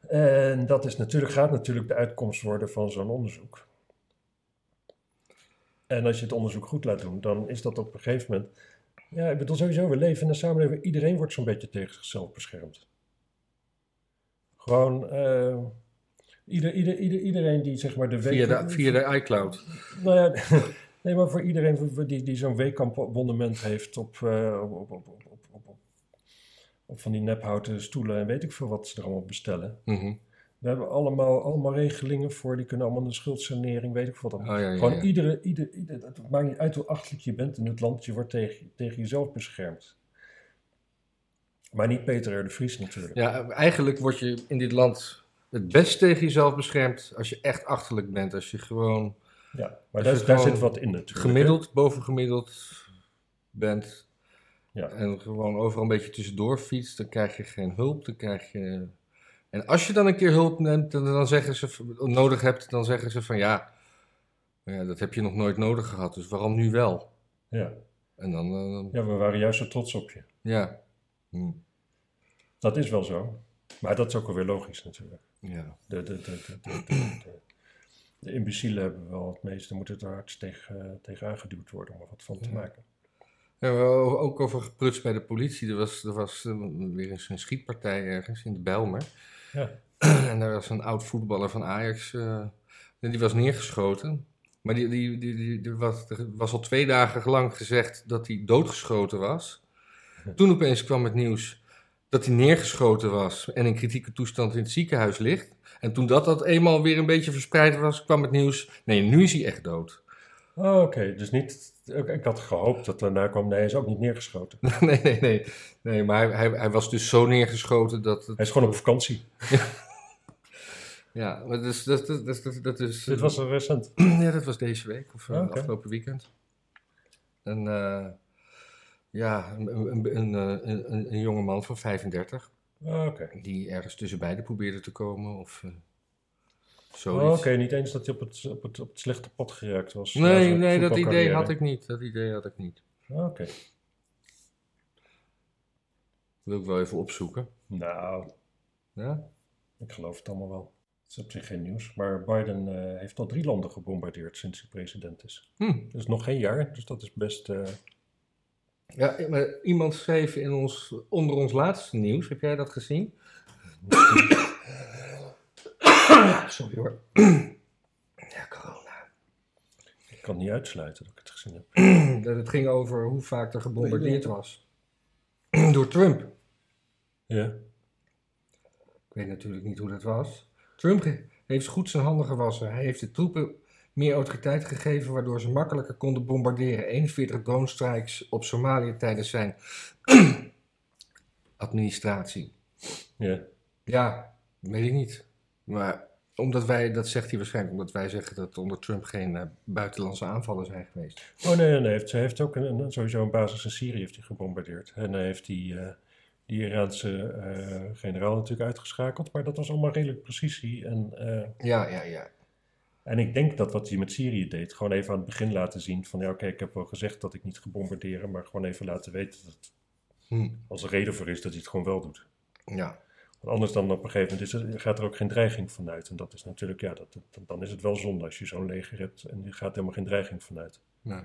Speaker 2: En dat is natuurlijk, gaat natuurlijk de uitkomst worden van zo'n onderzoek. En als je het onderzoek goed laat doen, dan is dat op een gegeven moment. Ja, ik bedoel sowieso, we leven in een samenleving waar iedereen wordt zo'n beetje tegen zichzelf beschermd. Gewoon, eh, ieder, ieder, ieder, iedereen die zeg maar de week...
Speaker 1: Via de, via de iCloud.
Speaker 2: Nou ja, nee, maar voor iedereen voor- voor die, die zo'n weekkampabonnement heeft op, eh, op, op, op, op, op, op, op, op van die nephouten stoelen en weet ik veel wat ze er allemaal bestellen.
Speaker 1: Mhm.
Speaker 2: We hebben allemaal, allemaal regelingen voor, die kunnen allemaal een schuldsanering, weet ik veel wat.
Speaker 1: Oh,
Speaker 2: allemaal.
Speaker 1: ja, ja,
Speaker 2: Gewoon
Speaker 1: ja.
Speaker 2: iedere, ieder, ieder, het maakt niet uit hoe achterlijk je bent in het land, je wordt tegen, tegen jezelf beschermd. Maar niet Peter R. de Vries natuurlijk.
Speaker 1: Ja, eigenlijk word je in dit land het best tegen jezelf beschermd als je echt achterlijk bent. Als je gewoon
Speaker 2: Ja,
Speaker 1: Dus
Speaker 2: maar daar,
Speaker 1: het
Speaker 2: daar
Speaker 1: gewoon
Speaker 2: zit wat in natuurlijk. hè.
Speaker 1: gemiddeld, bovengemiddeld bent.
Speaker 2: Ja.
Speaker 1: En gewoon overal een beetje tussendoor fietst, dan krijg je geen hulp. Dan krijg je... En als je dan een keer hulp neemt, dan, dan zeggen ze, v- nodig hebt, dan zeggen ze van ja, ja, dat heb je nog nooit nodig gehad, dus waarom nu wel?
Speaker 2: Ja.
Speaker 1: En dan, eh, dan-
Speaker 2: ja, we waren juist zo trots op je.
Speaker 1: ja. Hm,
Speaker 2: Dat is wel zo. Maar dat is ook alweer logisch natuurlijk.
Speaker 1: ja.
Speaker 2: De, de, de, de, de, de, de, de imbecielen hebben wel het meeste, moeten er hardst tegen, tegen aangeduwd worden om er wat van te
Speaker 1: Ja.
Speaker 2: maken.
Speaker 1: Ja, we hebben o- ook over geprutst bij de politie. Er was, er was eh, weer eens een schietpartij ergens in de Bijlmer.
Speaker 2: Ja.
Speaker 1: En daar was een oud voetballer van Ajax. eh, en die was neergeschoten. Maar die, die, die, die, die was, er was al twee dagen lang gezegd dat hij doodgeschoten was. Toen opeens kwam het nieuws dat hij neergeschoten was en in kritieke toestand in het ziekenhuis ligt. En toen dat, dat eenmaal weer een beetje verspreid was, kwam het nieuws. Nee, nu is hij echt dood.
Speaker 2: Oh, Oké, dus niet. ik- Ik had gehoopt dat daarna kwam. Nee, hij is ook niet neergeschoten.
Speaker 1: nee, nee, nee. nee maar hij, hij, hij was dus zo neergeschoten dat. Het,
Speaker 2: Hij is gewoon op vakantie.
Speaker 1: ja, maar dus, dat, dat, dat, dat, dat is.
Speaker 2: Dit was er recent.
Speaker 1: Ja, dat was deze week of eh,
Speaker 2: Ah, oké.
Speaker 1: afgelopen weekend. En eh, ja, een, een, een, een, een, een jongeman van 35
Speaker 2: Ah, Oké.
Speaker 1: die ergens tussen beiden probeerde te komen of eh,
Speaker 2: Oh,
Speaker 1: zoiets.
Speaker 2: Oké, niet eens dat hij op het, op, het, op het slechte pot geraakt was. na
Speaker 1: Nee,
Speaker 2: zijn
Speaker 1: nee, dat
Speaker 2: voetbalcarrière.
Speaker 1: idee had ik niet. Dat idee had ik niet.
Speaker 2: Ah, Oké.
Speaker 1: Dat wil ik wel even opzoeken.
Speaker 2: Nou,
Speaker 1: Ja?
Speaker 2: Ik geloof het allemaal wel. Het is op zich geen nieuws. Maar Biden eh, heeft al drie landen gebombardeerd sinds hij president is.
Speaker 1: Hm.
Speaker 2: Dus nog geen jaar, dus dat is best. eh,
Speaker 1: Ja, maar iemand schreef in ons, onder ons laatste nieuws, heb jij dat gezien? Sorry hoor. Ja, corona.
Speaker 2: ik kan niet uitsluiten dat ik het gezien heb.
Speaker 1: Dat het ging over hoe vaak er gebombardeerd was. Door Trump.
Speaker 2: Ja.
Speaker 1: Ik weet natuurlijk niet hoe dat was. Trump ge- heeft goed zijn handen gewassen. Hij heeft de troepen meer autoriteit gegeven, waardoor ze makkelijker konden bombarderen. 41 drone strikes op Somalië tijdens zijn administratie.
Speaker 2: ja.
Speaker 1: Ja, weet ik niet. Maar omdat wij, dat zegt hij waarschijnlijk, omdat wij zeggen dat onder Trump geen eh, buitenlandse aanvallen zijn geweest.
Speaker 2: Oh nee, nee, nee. Heeft, hij heeft ook een, een- sowieso een basis in Syrië heeft hij gebombardeerd. En hij heeft die, eh, die Iraanse eh, generaal natuurlijk uitgeschakeld. Maar dat was allemaal redelijk precisie. En, eh,
Speaker 1: Ja, ja, ja.
Speaker 2: en ik denk dat wat hij met Syrië deed, gewoon even aan het begin laten zien: van ja, oké, ik heb wel gezegd dat ik niet ga bombarderen. Maar gewoon even laten weten dat
Speaker 1: Hm.
Speaker 2: als er reden voor is dat hij het gewoon wel doet.
Speaker 1: Ja.
Speaker 2: Want anders dan op een gegeven moment is er, gaat er ook geen dreiging vanuit. En dat is natuurlijk, ja, dat, dat- dan is het wel zonde als je zo'n leger hebt en je gaat helemaal geen dreiging vanuit.
Speaker 1: Nou.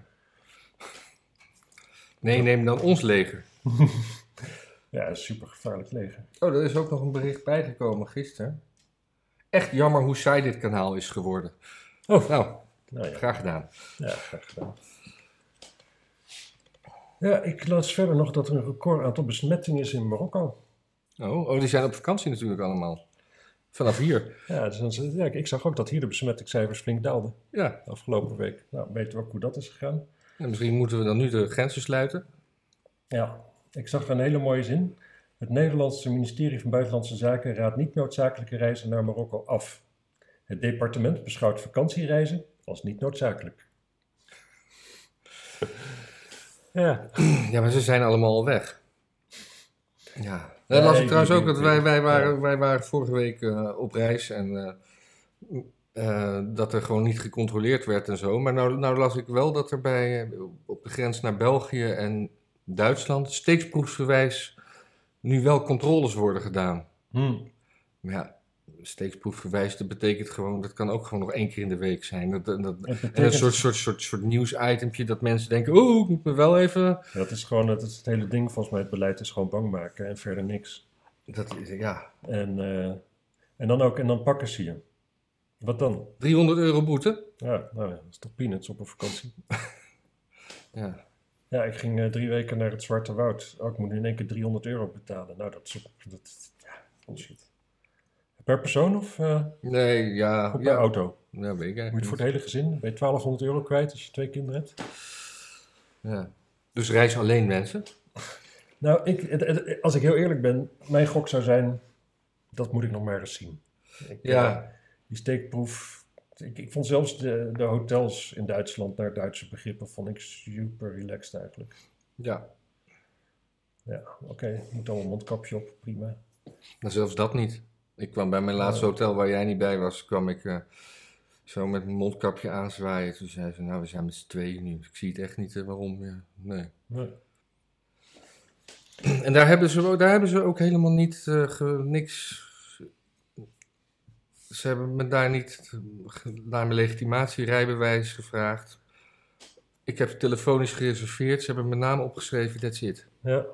Speaker 1: Nee, neem dan ons leger.
Speaker 2: Ja, een super gevaarlijk leger.
Speaker 1: Oh, er is ook nog een bericht bijgekomen gisteren. Echt jammer hoe saai dit kanaal is geworden.
Speaker 2: Oh.
Speaker 1: Nou,
Speaker 2: Nou ja,
Speaker 1: graag gedaan.
Speaker 2: ja graag gedaan. Ja, ik las verder nog dat er een record aantal besmettingen is in Marokko.
Speaker 1: Oh, oh, die zijn op vakantie natuurlijk allemaal. Vanaf hier.
Speaker 2: Ja, dus dan ze- ja, ik- ik zag ook dat hier de besmettingscijfers flink daalden
Speaker 1: Ja.
Speaker 2: de afgelopen week. Nou, weten we ook hoe dat is gegaan.
Speaker 1: En misschien moeten we dan nu de grenzen sluiten.
Speaker 2: Ja, ik zag er een hele mooie zin. Het Nederlandse ministerie van Buitenlandse Zaken raadt niet noodzakelijke reizen naar Marokko af. Het departement beschouwt vakantiereizen als niet noodzakelijk. Ja.
Speaker 1: Ja, maar ze zijn allemaal al weg. Ja. Dat las ik
Speaker 2: ik
Speaker 1: trouwens
Speaker 2: denk-
Speaker 1: ook, dat wij, wij, waren, wij waren vorige week eh, op reis en eh, eh, dat er gewoon niet gecontroleerd werd en zo. Maar nou, nou las ik wel dat er bij, eh, op de grens naar België en Duitsland steeksproefsgewijs nu wel controles worden gedaan.
Speaker 2: Hm.
Speaker 1: Maar ja, steeksproefgewijs, dat betekent gewoon, dat kan ook gewoon nog één keer in de week zijn. Dat, dat, dat-
Speaker 2: Het
Speaker 1: en een
Speaker 2: betekent,
Speaker 1: soort, soort, soort, soort nieuwsitempje dat mensen denken, oh, ik moet me wel even...
Speaker 2: Dat is gewoon dat is het hele ding volgens mij. Het beleid is gewoon bang maken en verder niks.
Speaker 1: Dat is, ja,
Speaker 2: En, eh, en dan ook, en dan pakken ze je. Wat dan?
Speaker 1: 300 euro boete.
Speaker 2: Ja, nou ja, dat is toch peanuts op een vakantie.
Speaker 1: Ja.
Speaker 2: Ja, ik ging eh, drie weken naar het Zwarte Woud. Oh, ik moet nu in één keer 300 euro betalen. Nou, dat is ook- dat, ja, bullshit. Per persoon of eh,
Speaker 1: Nee, ja.
Speaker 2: of per
Speaker 1: Ja,
Speaker 2: auto? Moet
Speaker 1: dat weet ik
Speaker 2: je het
Speaker 1: eigenlijk
Speaker 2: voor
Speaker 1: niet.
Speaker 2: het hele gezin? Ben je 1200 euro kwijt als je twee kinderen hebt?
Speaker 1: Ja. Dus reis alleen mensen.
Speaker 2: Nou, ik, het- het- als ik heel eerlijk ben, mijn gok zou zijn, dat moet ik nog maar eens zien. Ik,
Speaker 1: Ja.
Speaker 2: eh, die steekproef. Ik, ik vond zelfs de, de hotels in Duitsland naar Duitse begrippen vond ik super relaxed eigenlijk.
Speaker 1: Ja.
Speaker 2: Ja, oké, moet allemaal mondkapje op, prima.
Speaker 1: Maar zelfs dat niet. Oh. Ik kwam bij mijn laatste hotel waar jij niet bij was, kwam ik eh, zo met mijn mondkapje aanzwaaien. Toen zei ze, nou we zijn met z'n tweeën nu. Ik zie het echt niet eh, waarom. Ja. Nee.
Speaker 2: Nee.
Speaker 1: En daar hebben ze, ook- daar hebben ze ook helemaal niet eh, ge- niks... Ze hebben me daar niet eh, ge- naar mijn legitimatierijbewijs gevraagd. Ik heb telefonisch gereserveerd. Ze hebben mijn naam opgeschreven. That's it.
Speaker 2: Ja,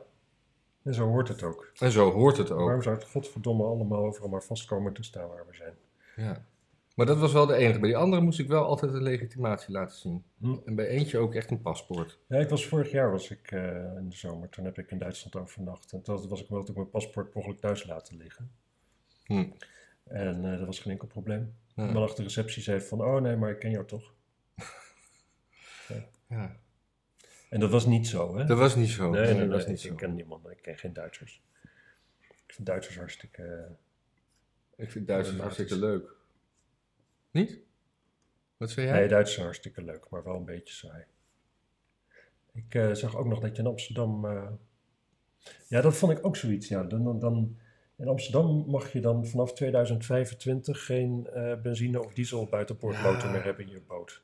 Speaker 2: en zo hoort het ook.
Speaker 1: En zo hoort het ook.
Speaker 2: Waarom zou het godverdomme allemaal overal maar vastkomen te staan waar we zijn?
Speaker 1: Ja. Maar dat was wel de enige. Bij die andere moest ik wel altijd een legitimatie laten zien.
Speaker 2: Hm.
Speaker 1: En bij eentje ook echt een paspoort.
Speaker 2: Ja, ik was vorig jaar was ik eh, in de zomer, toen heb ik in Duitsland overnacht. En toen was ik wel dat ik mijn paspoort per ongeluk thuis laten liggen.
Speaker 1: Hm.
Speaker 2: En eh, dat was geen enkel probleem.
Speaker 1: Ja.
Speaker 2: Maar achter de receptie zei van, oh nee, maar ik ken jou toch.
Speaker 1: Ja.
Speaker 2: En dat was niet zo, hè?
Speaker 1: Dat was niet zo.
Speaker 2: nee, nee, nee,
Speaker 1: dat was
Speaker 2: ik-
Speaker 1: niet zo.
Speaker 2: ik ken niemand, ik ken geen Duitsers. Ik vind Duitsers hartstikke... eh,
Speaker 1: Ik vind Duitsers
Speaker 2: Ja, dat is-
Speaker 1: hartstikke leuk. Niet? Wat zei jij?
Speaker 2: Nee, Duits is hartstikke leuk, maar wel een beetje saai. Ik eh, zag ook nog dat je in Amsterdam. eh, Ja, dat vond ik ook zoiets. Ja. Dan, dan, dan, in Amsterdam mag je dan vanaf 2025 geen eh, benzine of diesel buitenpoortmotor
Speaker 1: Ja.
Speaker 2: meer hebben in je boot.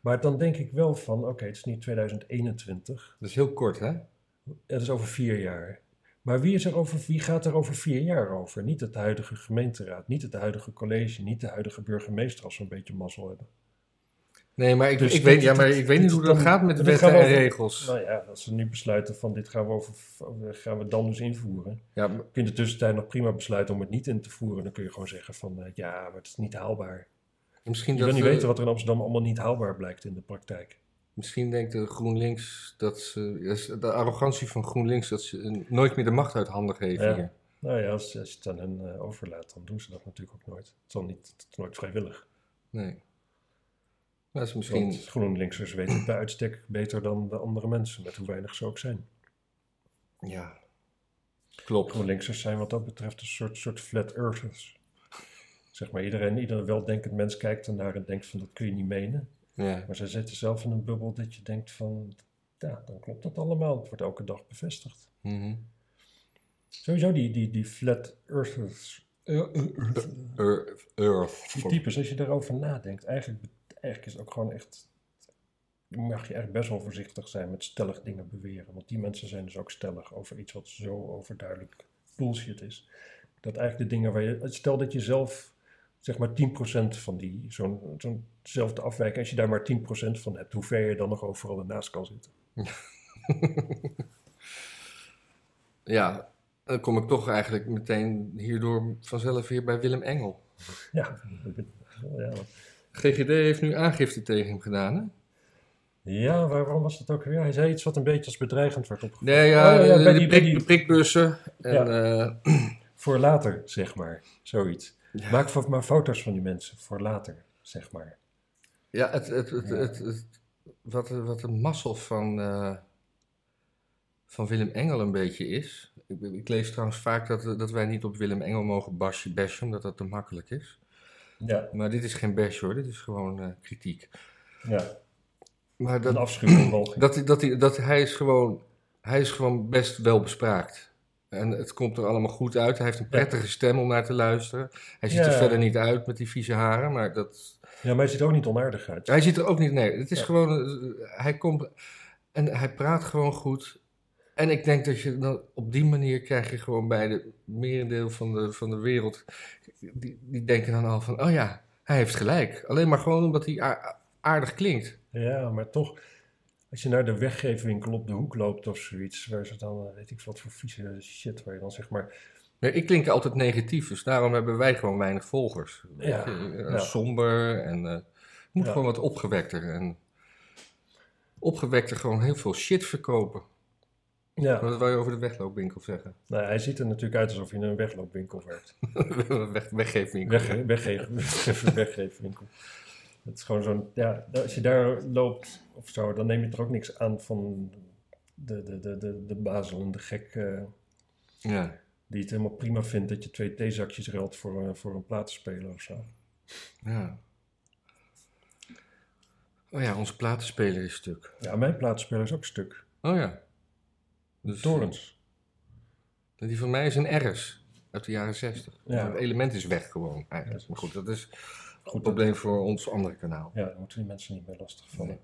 Speaker 2: Maar dan denk ik wel van: oké, het is niet 2021,
Speaker 1: Dat is heel kort, hè?
Speaker 2: het is over vier jaar. Maar wie, is er over, wie gaat er over vier jaar over? Niet het huidige gemeenteraad, niet het huidige college, niet de huidige burgemeester als we een beetje mazzel hebben.
Speaker 1: Nee, maar ik,
Speaker 2: Dus
Speaker 1: ik,
Speaker 2: dit-
Speaker 1: weet, ja, maar
Speaker 2: dit-
Speaker 1: ik weet niet
Speaker 2: dit-
Speaker 1: hoe dat
Speaker 2: dan-
Speaker 1: gaat met
Speaker 2: dit
Speaker 1: wetten
Speaker 2: gaan we
Speaker 1: en
Speaker 2: over-
Speaker 1: regels.
Speaker 2: Nou ja, als ze nu besluiten van dit gaan we, over, gaan we dan dus invoeren.
Speaker 1: Ja, maar-
Speaker 2: Kun je in de tussentijd nog prima besluiten om het niet in te voeren. Dan kun je gewoon zeggen van eh, ja, maar het is niet haalbaar.
Speaker 1: misschien,
Speaker 2: Je wil
Speaker 1: dat,
Speaker 2: niet
Speaker 1: eh,
Speaker 2: weten wat er in Amsterdam allemaal niet haalbaar blijkt in de praktijk.
Speaker 1: misschien denkt de GroenLinks dat ze. dat is De arrogantie van GroenLinks dat ze eh, nooit meer de macht uit handen geven.
Speaker 2: Ja.
Speaker 1: hier.
Speaker 2: Nou ja, als, als je het aan hen eh, overlaat, dan doen ze dat natuurlijk ook nooit. Het is, al niet, het is nooit vrijwillig.
Speaker 1: Nee. Dat is misschien.
Speaker 2: Want GroenLinksers weten het bij uitstek beter dan de andere mensen, met hoe weinig ze ook zijn.
Speaker 1: Ja. Klopt.
Speaker 2: GroenLinksers zijn wat dat betreft een soort, soort flat earthers. Zeg maar, iedereen, ieder weldenkend mens kijkt ernaar en denkt van dat kun je niet menen.
Speaker 1: Ja.
Speaker 2: Maar ze zitten zelf in een bubbel dat je denkt van, ja, dan klopt dat allemaal. Het wordt elke dag bevestigd.
Speaker 1: Mhm.
Speaker 2: Sowieso die, die, die flat earthers,
Speaker 1: Earth. Earth.
Speaker 2: die types, als je daarover nadenkt, eigenlijk, be- eigenlijk is het ook gewoon echt, mag je echt best wel voorzichtig zijn met stellig dingen beweren. Want die mensen zijn dus ook stellig over iets wat zo overduidelijk bullshit is. Dat eigenlijk de dingen waar je. Stel dat je zelf zeg maar 10% van die, zo'n, zo'nzelfde afwijking, als je daar maar 10% van hebt, hoe ver je dan nog overal ernaast kan zitten.
Speaker 1: Ja, dan kom ik toch eigenlijk meteen hierdoor vanzelf weer bij Willem Engel.
Speaker 2: Ja, ik ben- ja.
Speaker 1: GGD heeft nu aangifte tegen hem gedaan, hè?
Speaker 2: ja waarom was dat ook weer? Hij zei iets wat een beetje als bedreigend wordt opgevat.
Speaker 1: Nee, ja,
Speaker 2: Oh, ja, ja,
Speaker 1: de-
Speaker 2: bij
Speaker 1: de,
Speaker 2: die-
Speaker 1: prik-
Speaker 2: bij die-
Speaker 1: de prikbussen. En, eh,
Speaker 2: Voor later, zeg maar. Zoiets. Maak vo- maar foto's van die mensen. Voor later, zeg maar.
Speaker 1: ja, het, het, het, het, het- wat, wat een mazzel van, eh, van Willem Engel een beetje is. Ik, ik lees trouwens vaak dat, dat wij niet op Willem Engel mogen basje bashen, omdat dat te makkelijk is.
Speaker 2: Ja,
Speaker 1: Maar dit is geen bash hoor, dit is gewoon eh, kritiek.
Speaker 2: ja.
Speaker 1: Maar dat,
Speaker 2: Een afschuwing.
Speaker 1: Dat, hij- dat, hij- dat hij, is gewoon, hij is gewoon best wel bespraakt. En het komt er allemaal goed uit. Hij heeft een prettige stem om naar te luisteren. Hij ziet er
Speaker 2: Ja.
Speaker 1: verder niet uit met die vieze haren, maar dat...
Speaker 2: Ja, maar hij ziet er ook niet onaardig uit.
Speaker 1: Hij ziet er ook niet... Nee, het is
Speaker 2: Ja.
Speaker 1: gewoon... eh, Hij komt... En hij praat gewoon goed. En ik denk dat je dan op die manier krijg je gewoon bij de merendeel van de, van de wereld... Die, die denken dan al van, oh ja, hij heeft gelijk. Alleen maar gewoon omdat hij a- aardig klinkt.
Speaker 2: Ja, maar toch, als je naar de weggeefwinkel op de hoek loopt of zoiets, waar ze dan, eh, weet ik wat voor vieze shit, waar je dan zeg maar,
Speaker 1: Nee, ik klink altijd negatief, dus daarom hebben wij gewoon weinig volgers.
Speaker 2: Ja,
Speaker 1: Eh, eh,
Speaker 2: ja.
Speaker 1: Somber en eh, het moet
Speaker 2: Ja.
Speaker 1: gewoon wat opgewekter. En opgewekter gewoon heel veel shit verkopen.
Speaker 2: ja,
Speaker 1: Wat wil je over de wegloopwinkel zeggen?
Speaker 2: nou, hij ziet er natuurlijk uit alsof je in een wegloopwinkel werkt.
Speaker 1: Weg, weggeefwinkel.
Speaker 2: Wegge weggeven, weggeefwinkel. Het is gewoon zo'n, ja, als je daar loopt of zo, dan neem je er ook niks aan van de, de, de, de, de bazelende gek eh,
Speaker 1: Ja.
Speaker 2: die het helemaal prima vindt dat je twee theezakjes ruilt voor, eh, voor een platenspeler of zo.
Speaker 1: ja. Oh ja, onze platenspeler is stuk.
Speaker 2: Ja, mijn platenspeler is ook stuk.
Speaker 1: Oh ja. Dus,
Speaker 2: Torens.
Speaker 1: Die van mij is een RS uit de jaren 60.
Speaker 2: Ja.
Speaker 1: Het element is weg gewoon eigenlijk. Maar goed, dat is een probleem voor ons andere kanaal.
Speaker 2: Ja, daar moeten die mensen niet mee lastigvallen.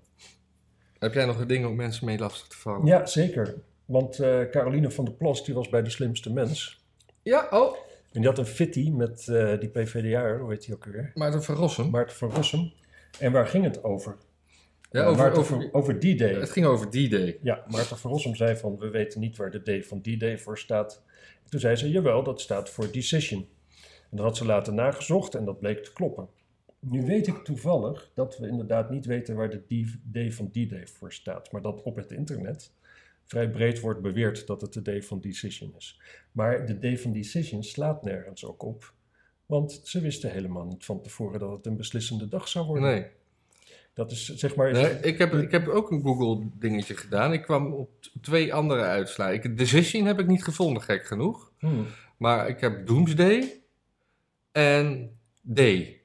Speaker 1: Heb jij nog een ding om mensen mee lastig te vallen?
Speaker 2: Ja, zeker. Want eh, Caroline van der Plas, die was bij de slimste mens.
Speaker 1: Ja, oh.
Speaker 2: En die had een fitty met eh, die PVDA, hoe heet die ook weer?
Speaker 1: Maarten van Rossum.
Speaker 2: Maarten van Rossum. En waar ging het over?
Speaker 1: Ja,
Speaker 2: Eh,
Speaker 1: over,
Speaker 2: Maarten
Speaker 1: over,
Speaker 2: van- over die day.
Speaker 1: het ging over die day.
Speaker 2: Ja, Maarten van Rossum zei van, we weten niet waar de D van die day voor staat. En toen zei ze, jawel, dat staat voor decision. En dat had ze later nagezocht en dat bleek te kloppen. Nu weet ik toevallig dat we inderdaad niet weten waar de D- D van die day voor staat. Maar dat op het internet vrij breed wordt beweerd dat het de D van decision is. Maar de D van decision slaat nergens ook op. Want ze wisten helemaal niet van tevoren dat het een beslissende dag zou worden.
Speaker 1: Nee.
Speaker 2: Dat is zeg maar...
Speaker 1: Nee, ik, heb, ik heb ook een Google dingetje gedaan. Ik kwam op t- twee andere uitslaan. Ik, Decision heb ik niet gevonden, gek genoeg.
Speaker 2: Hmm.
Speaker 1: Maar ik heb Doomsday en Day.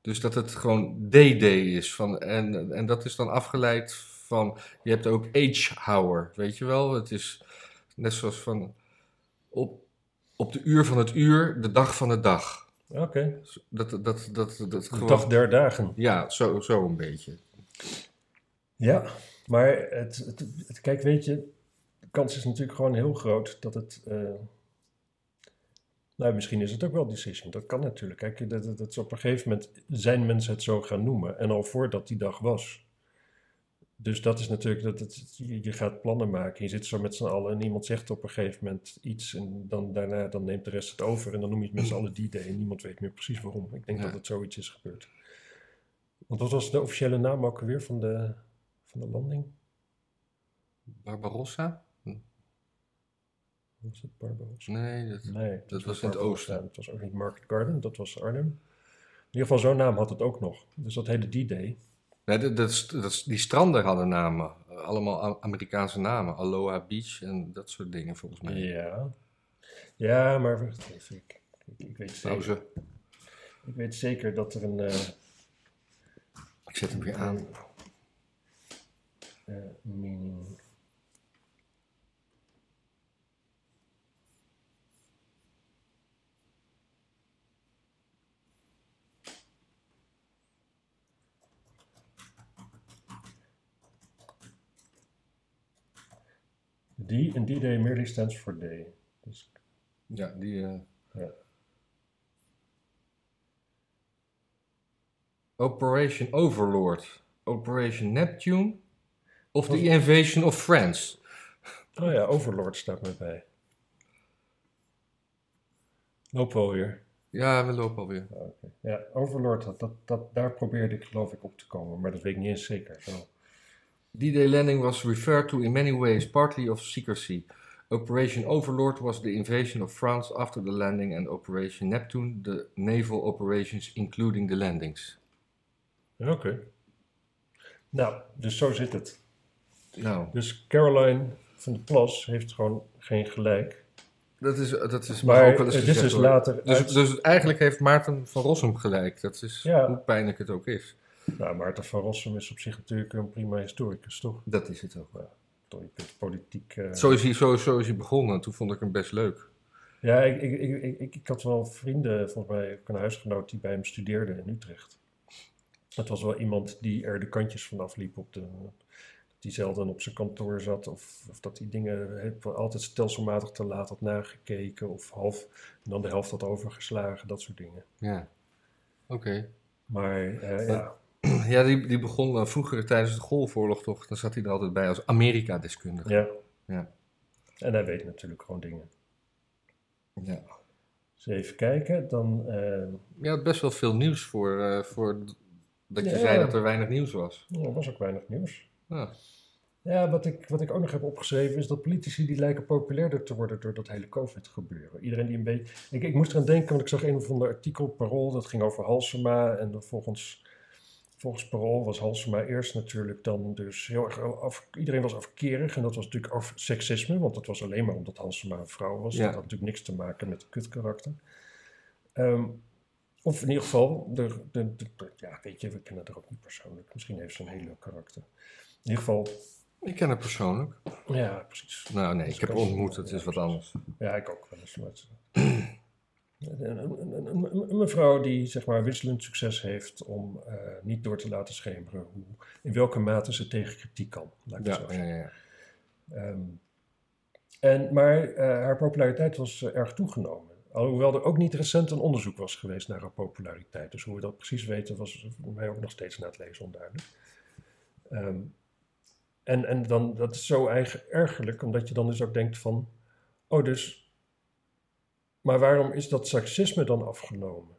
Speaker 1: Dus dat het gewoon DD is. Van, en, en dat is dan afgeleid van... Je hebt ook Age Hour, weet je wel? Het is net zoals van... Op, op de uur van het uur, de dag van de dag.
Speaker 2: Oké,
Speaker 1: Dat, dat, dat, dat, dat
Speaker 2: de
Speaker 1: gewoon...
Speaker 2: dag der dagen.
Speaker 1: Ja, zo, zo een beetje.
Speaker 2: Ja, maar het, het, het- kijk, weet je, de kans is natuurlijk gewoon heel groot dat het. eh, nou, misschien is het ook wel decision. Dat kan natuurlijk. Kijk, dat, dat, dat is op een gegeven moment zijn mensen het zo gaan noemen. En al voordat die dag was. Dus dat is natuurlijk, dat, het- je, je gaat plannen maken. Je zit zo met z'n allen en iemand zegt op een gegeven moment iets. En dan, daarna dan neemt de rest het over. En dan noem je het met z'n allen die day. En niemand weet meer precies waarom. Ik denk
Speaker 1: Ja.
Speaker 2: dat het zoiets is gebeurd. Want wat was de officiële naam ook weer van de, van de landing?
Speaker 1: Barbarossa?
Speaker 2: Was het Barbaros?
Speaker 1: Nee, dat...
Speaker 2: Nee,
Speaker 1: was in het
Speaker 2: Barbarossa.
Speaker 1: oosten.
Speaker 2: Dat was ook niet Market Garden, dat was Arnhem. In ieder geval, zo'n naam had het ook nog. Dus dat hele D-Day.
Speaker 1: Nee, dat, dat, is- dat is- die stranden hadden namen. Allemaal A- Amerikaanse namen. Aloha Beach en dat soort dingen volgens mij.
Speaker 2: Ja. Ja, maar wacht even. Ik, ik, ik weet zeker,
Speaker 1: Pauze.
Speaker 2: ik weet zeker dat er een. eh,
Speaker 1: Ik zet hem weer aan.
Speaker 2: eh, meaning. D en D-Day merely stands for day. Dus
Speaker 1: Ja, die. eh,
Speaker 2: Ja.
Speaker 1: Operation Overlord, Operation Neptune of The Invasion of France.
Speaker 2: Oh ja, Overlord staat me bij. Loop wel weer.
Speaker 1: Ja, we lopen alweer.
Speaker 2: Ja, Overlord, dat, dat, dat, daar probeerde ik geloof ik op te komen, maar dat weet ik niet eens zeker. Zo.
Speaker 1: D-Day landing was referred to in many ways, partly of secrecy. Operation Overlord was the invasion of France after the landing, and Operation Neptune, the naval operations including the landings.
Speaker 2: Oké. Nou, dus zo zit het.
Speaker 1: Nou,
Speaker 2: Dus Caroline van de Plas heeft gewoon geen gelijk.
Speaker 1: dat is, dat is
Speaker 2: Maar
Speaker 1: maar ook wel eens
Speaker 2: het is
Speaker 1: gezegd,
Speaker 2: dus
Speaker 1: hoor.
Speaker 2: later
Speaker 1: Dus,
Speaker 2: uit-
Speaker 1: dus eigenlijk heeft Maarten van Rossum gelijk. Dat is
Speaker 2: Ja.
Speaker 1: hoe pijnlijk het ook is.
Speaker 2: Nou, Maarten van Rossum is op zich natuurlijk een prima historicus, toch?
Speaker 1: Dat is het ook.
Speaker 2: Toch, Je kunt politiek... eh,
Speaker 1: Zo is hij, zo, zo is hij begonnen. Toen vond ik hem best leuk.
Speaker 2: Ja, ik, ik, ik, ik- ik, ik had wel vrienden, volgens mij ook een huisgenoot die bij hem studeerde in Utrecht. Het was wel iemand die er de kantjes van afliep op de... Die zelden op zijn kantoor zat of, of dat die dingen heel- altijd stelselmatig te laat had nagekeken of half en dan de helft had overgeslagen, dat soort dingen.
Speaker 1: Ja. Oké.
Speaker 2: Maar eh, ja,
Speaker 1: Ja, die, die begon eh, vroeger tijdens de Golfoorlog toch. Dan zat hij er altijd bij als Amerika-deskundige.
Speaker 2: ja.
Speaker 1: Ja.
Speaker 2: En hij weet natuurlijk gewoon dingen.
Speaker 1: Ja.
Speaker 2: Dus even kijken, dan... eh,
Speaker 1: Je had best wel veel nieuws voor, eh, voor d- dat je
Speaker 2: Ja.
Speaker 1: zei dat er weinig nieuws was.
Speaker 2: nou, er was ook weinig nieuws.
Speaker 1: Ja.
Speaker 2: Ja, wat ik, wat ik ook nog heb opgeschreven is dat politici die lijken populairder te worden door dat hele COVID-gebeuren. Iedereen die een beetje. Ik, ik moest eraan denken, want ik zag een of ander artikel op Parool, dat ging over Halsema. En dan volgens, volgens Parool was Halsema eerst natuurlijk dan dus heel erg af. Iedereen was afkerig en dat was natuurlijk af, seksisme, want dat was alleen maar omdat Halsema een vrouw was.
Speaker 1: Ja.
Speaker 2: Dat had natuurlijk niks te maken met kutkarakter. Ehm, of in ieder geval, de, de, de- de- ja, weet je, we kennen haar ook niet persoonlijk. Misschien heeft ze een heel leuk karakter. In ieder geval,
Speaker 1: Ik ken hem persoonlijk.
Speaker 2: ja, precies.
Speaker 1: Nou nee, ik heb hem ontmoet. Het
Speaker 2: Ja,
Speaker 1: is wat anders.
Speaker 2: Ja, ik ook wel eens. maar het- Een, een, een- een- een mevrouw die zeg maar wisselend succes heeft om eh, niet door te laten schemeren hoe, in welke mate ze tegen kritiek kan. Laat ik het
Speaker 1: Ja,
Speaker 2: zo
Speaker 1: ja,
Speaker 2: zeggen.
Speaker 1: ja, ja.
Speaker 2: Ehm, en, maar eh, haar populariteit was eh, erg toegenomen. Alhoewel er ook niet recent een onderzoek was geweest naar haar populariteit. Dus hoe we dat precies weten was voor mij ook nog steeds na het lezen onduidelijk. Ehm, en en dan, dat is zo eigen, ergerlijk, omdat je dan dus ook denkt van... Oh, dus... Maar waarom is dat seksisme dan afgenomen?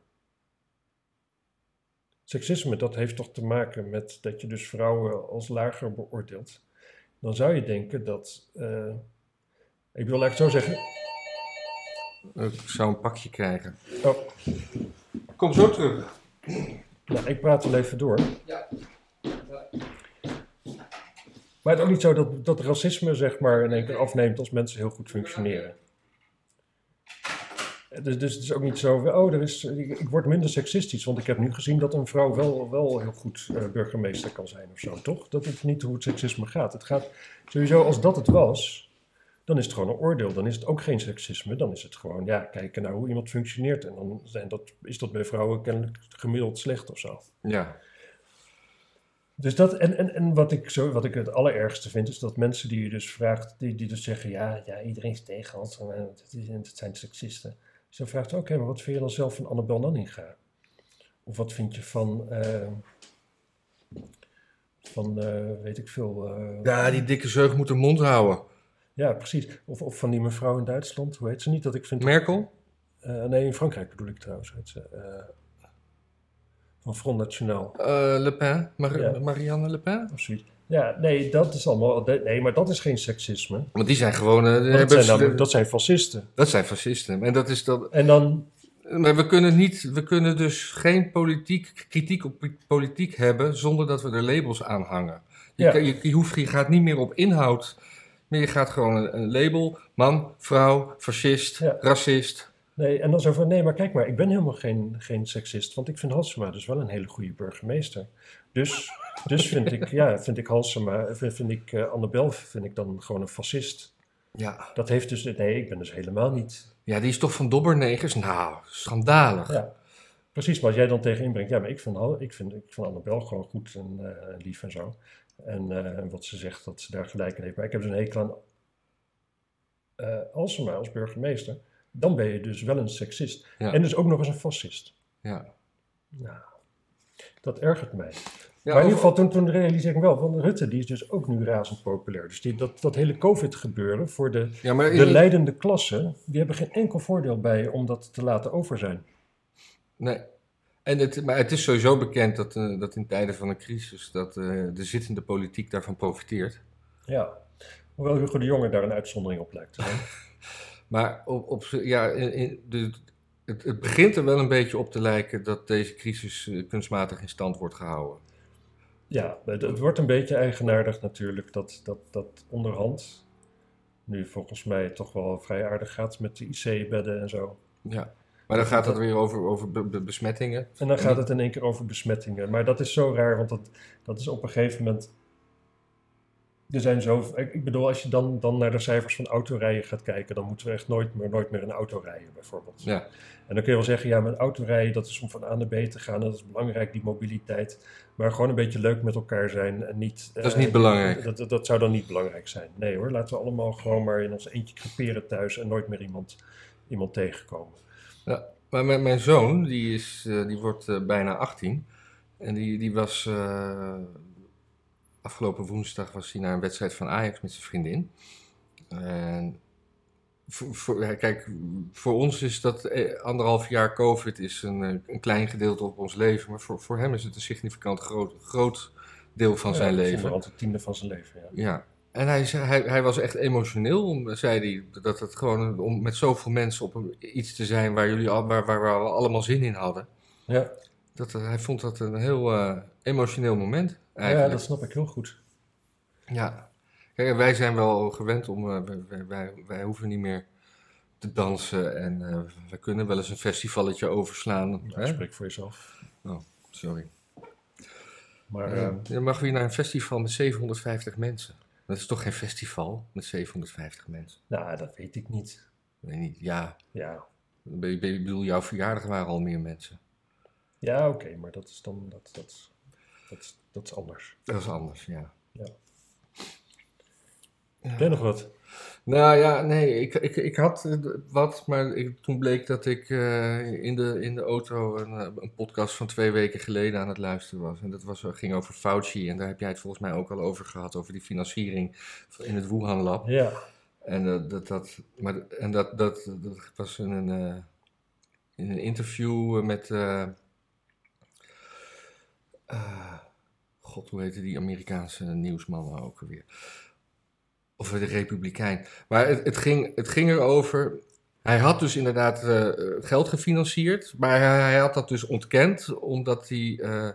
Speaker 2: Seksisme, dat heeft toch te maken met dat je dus vrouwen als lager beoordeelt dan zou je denken dat. eh, ik wil eigenlijk zo zeggen.
Speaker 1: Ik zou een pakje krijgen.
Speaker 2: Oh,
Speaker 1: Kom zo terug.
Speaker 2: nou, ik praat wel even door.
Speaker 1: Ja.
Speaker 2: Maar het is ook niet zo dat, dat racisme zeg maar in één keer afneemt als mensen heel goed functioneren. Dus, dus het is ook niet zo, oh, er is, ik, ik word minder seksistisch, want ik heb nu gezien dat een vrouw wel, wel heel goed eh, burgemeester kan zijn of zo, toch? Dat is niet hoe het seksisme gaat. Het gaat sowieso, als dat het was, dan is het gewoon een oordeel. Dan is het ook geen seksisme, dan is het gewoon, ja, kijken naar hoe iemand functioneert. En dan zijn dat, is dat bij vrouwen kennelijk gemiddeld slecht of zo.
Speaker 1: Ja.
Speaker 2: Dus dat, en, en, en wat, ik zo, wat ik het allerergste vind, is dat mensen die je dus vraagt, die, die dus zeggen, ja, ja iedereen is tegen ons, en, eh, het, is- het zijn seksisten. Dus dan vraagt, oké, maar wat vind je dan zelf van Annabel Nanninga? Of wat vind je van, eh, van eh, weet ik veel, eh, ja.
Speaker 1: Ja, die dikke zeug moet de mond houden.
Speaker 2: precies, of, of van die mevrouw in Duitsland, hoe heet ze niet, dat ik vind...
Speaker 1: Merkel?
Speaker 2: eh, nee, in Frankrijk bedoel ik trouwens, heet ze, eh, van Front National.
Speaker 1: Eh, Le Pen? Mar-
Speaker 2: Ja.
Speaker 1: Marianne Le Pen?
Speaker 2: Of zoiets. Ja, nee, dat is allemaal. Nee, maar dat is geen seksisme.
Speaker 1: Want die zijn gewoon... eh, hebben
Speaker 2: Dat zijn,
Speaker 1: ze-
Speaker 2: namelijk- dat zijn fascisten.
Speaker 1: dat zijn fascisten. En dat is dat...
Speaker 2: En dan,
Speaker 1: Maar we kunnen, niet, we kunnen dus geen politiek, kritiek op pi- politiek hebben zonder dat we er labels aan hangen. Je,
Speaker 2: Ja.
Speaker 1: kan- je, je hoeft, je gaat niet meer op inhoud, maar je gaat gewoon een, een label. Man, vrouw, fascist,
Speaker 2: Ja.
Speaker 1: racist.
Speaker 2: nee, en dan zo van, nee, maar kijk maar, ik ben helemaal geen, geen seksist, want ik vind Halsema dus wel een hele goede burgemeester. Dus, dus vind ik, ja, vind ik Halsema, vind, vind ik eh, Annabel, vind ik dan gewoon een fascist.
Speaker 1: Ja.
Speaker 2: Dat heeft dus, nee, ik ben dus helemaal niet.
Speaker 1: ja, die is toch van dobbernegers? Nou, schandalig.
Speaker 2: Ja. Precies, wat jij dan tegen inbrengt, ja, maar ik vind, Hal- ik vind, ik vind Annabel gewoon goed en eh, lief en zo. En eh, wat ze zegt, dat ze daar gelijk in heeft. Maar ik heb dus een hekel aan eh Halsema als burgemeester. dan ben je dus wel een seksist.
Speaker 1: Ja.
Speaker 2: En dus ook nog eens een fascist.
Speaker 1: Ja.
Speaker 2: Nou, dat ergert mij.
Speaker 1: Ja,
Speaker 2: maar in
Speaker 1: over-
Speaker 2: ieder geval, toen, toen realiseer ik wel, want Rutte die is dus ook nu razend populair. Dus die, dat, dat hele COVID-gebeuren voor de,
Speaker 1: ja, maar is
Speaker 2: de
Speaker 1: het-
Speaker 2: leidende klasse, die hebben geen enkel voordeel bij om dat te laten over zijn.
Speaker 1: Nee. En het, maar het is sowieso bekend dat, eh, dat in tijden van een crisis dat eh, de zittende politiek daarvan profiteert.
Speaker 2: Ja. Hoewel Hugo de Jonge daar een uitzondering op lijkt te zijn.
Speaker 1: Maar op, op, z'n- ja, in, in- de, het, het begint er wel een beetje op te lijken dat deze crisis eh, kunstmatig in stand wordt gehouden.
Speaker 2: Ja, het, het wordt een beetje eigenaardig natuurlijk dat, dat, dat onderhand nu volgens mij toch wel vrij aardig gaat met de IC-bedden en zo.
Speaker 1: Ja. Maar dan gaat het weer over, over be- be- besmettingen.
Speaker 2: En dan gaat het in één keer over besmettingen. Maar dat is zo raar, want dat, dat is op een gegeven moment. Er zijn zo. Ik ik bedoel, als je dan, dan naar de cijfers van autorijden gaat kijken, dan moeten we echt nooit meer, nooit meer een auto rijden, bijvoorbeeld.
Speaker 1: Ja.
Speaker 2: En dan kun je wel zeggen, ja, met autorijden, dat is om van A naar B te gaan. en Dat is belangrijk, die mobiliteit. Maar gewoon een beetje leuk met elkaar zijn. En niet, eh,
Speaker 1: Dat is niet belangrijk.
Speaker 2: Dat, dat, dat zou dan niet belangrijk zijn. Nee hoor, laten we allemaal gewoon maar in ons eentje creperen thuis en nooit meer iemand, iemand tegenkomen.
Speaker 1: Maar mijn, mijn zoon, die, is, eh, die wordt eh, bijna 18. En die, die was. eh, afgelopen woensdag was hij naar een wedstrijd van Ajax met zijn vriendin. En. Voor, voor- ja, kijk, voor ons is dat eh, anderhalf jaar COVID is een, eh, een klein gedeelte op ons leven. Maar voor, voor hem is het een significant groot, groot deel van
Speaker 2: Ja,
Speaker 1: zijn
Speaker 2: dat is
Speaker 1: leven.
Speaker 2: onderhand het tiende van zijn leven, ja.
Speaker 1: Ja. En hij, zei- hij, hij was echt emotioneel, om- zei hij. Dat het gewoon een- om met zoveel mensen op een- iets te zijn waar, jullie al, waar, waar, waar we allemaal zin in hadden.
Speaker 2: Ja,
Speaker 1: Dat, eh, hij vond dat een heel eh, emotioneel moment.
Speaker 2: ja,
Speaker 1: Eigenlijk. Ja,
Speaker 2: dat snap ik heel goed.
Speaker 1: Kijk, en wij zijn wel gewend om. eh, wij- wij, wij, wij hoeven niet meer te dansen. En eh we kunnen wel eens een festivalletje overslaan.
Speaker 2: Ja,
Speaker 1: hè?
Speaker 2: spreek voor jezelf.
Speaker 1: Sorry.
Speaker 2: Maar
Speaker 1: Ja.
Speaker 2: eh,
Speaker 1: Dan mag weer naar een festival met 750 mensen. Dat is toch geen festival met 750 mensen?
Speaker 2: nou, dat weet ik niet.
Speaker 1: Ik weet niet. Ja.
Speaker 2: Ja,
Speaker 1: Ik be- be- bedoel, jouw verjaardag waren al meer mensen.
Speaker 2: ja oké, maar dat is dan dat, dat, dat, is- dat is anders.
Speaker 1: Dat is anders, ja.
Speaker 2: Ik Ken nog wat?
Speaker 1: Nou ja, nee, ik, ik, ik had eh, wat, maar ik, toen bleek dat ik eh, in, de, in de auto een, eh, een podcast van twee weken geleden aan het luisteren was. En dat was, eh, ging over Fauci en daar heb jij het volgens mij ook al over gehad, over die financiering in het Wuhan Lab.
Speaker 2: Ja,
Speaker 1: En, eh, dat, dat, maar, en dat, dat, dat was in een, eh, in een interview eh, met. eh, eh, God, hoe heette die Amerikaanse nieuwsman nou ook alweer? Of de Republikein. Maar het, het, ging, het ging erover. Hij had dus inderdaad eh, eh, geld gefinancierd, maar hij, hij had dat dus ontkend, omdat hij. eh,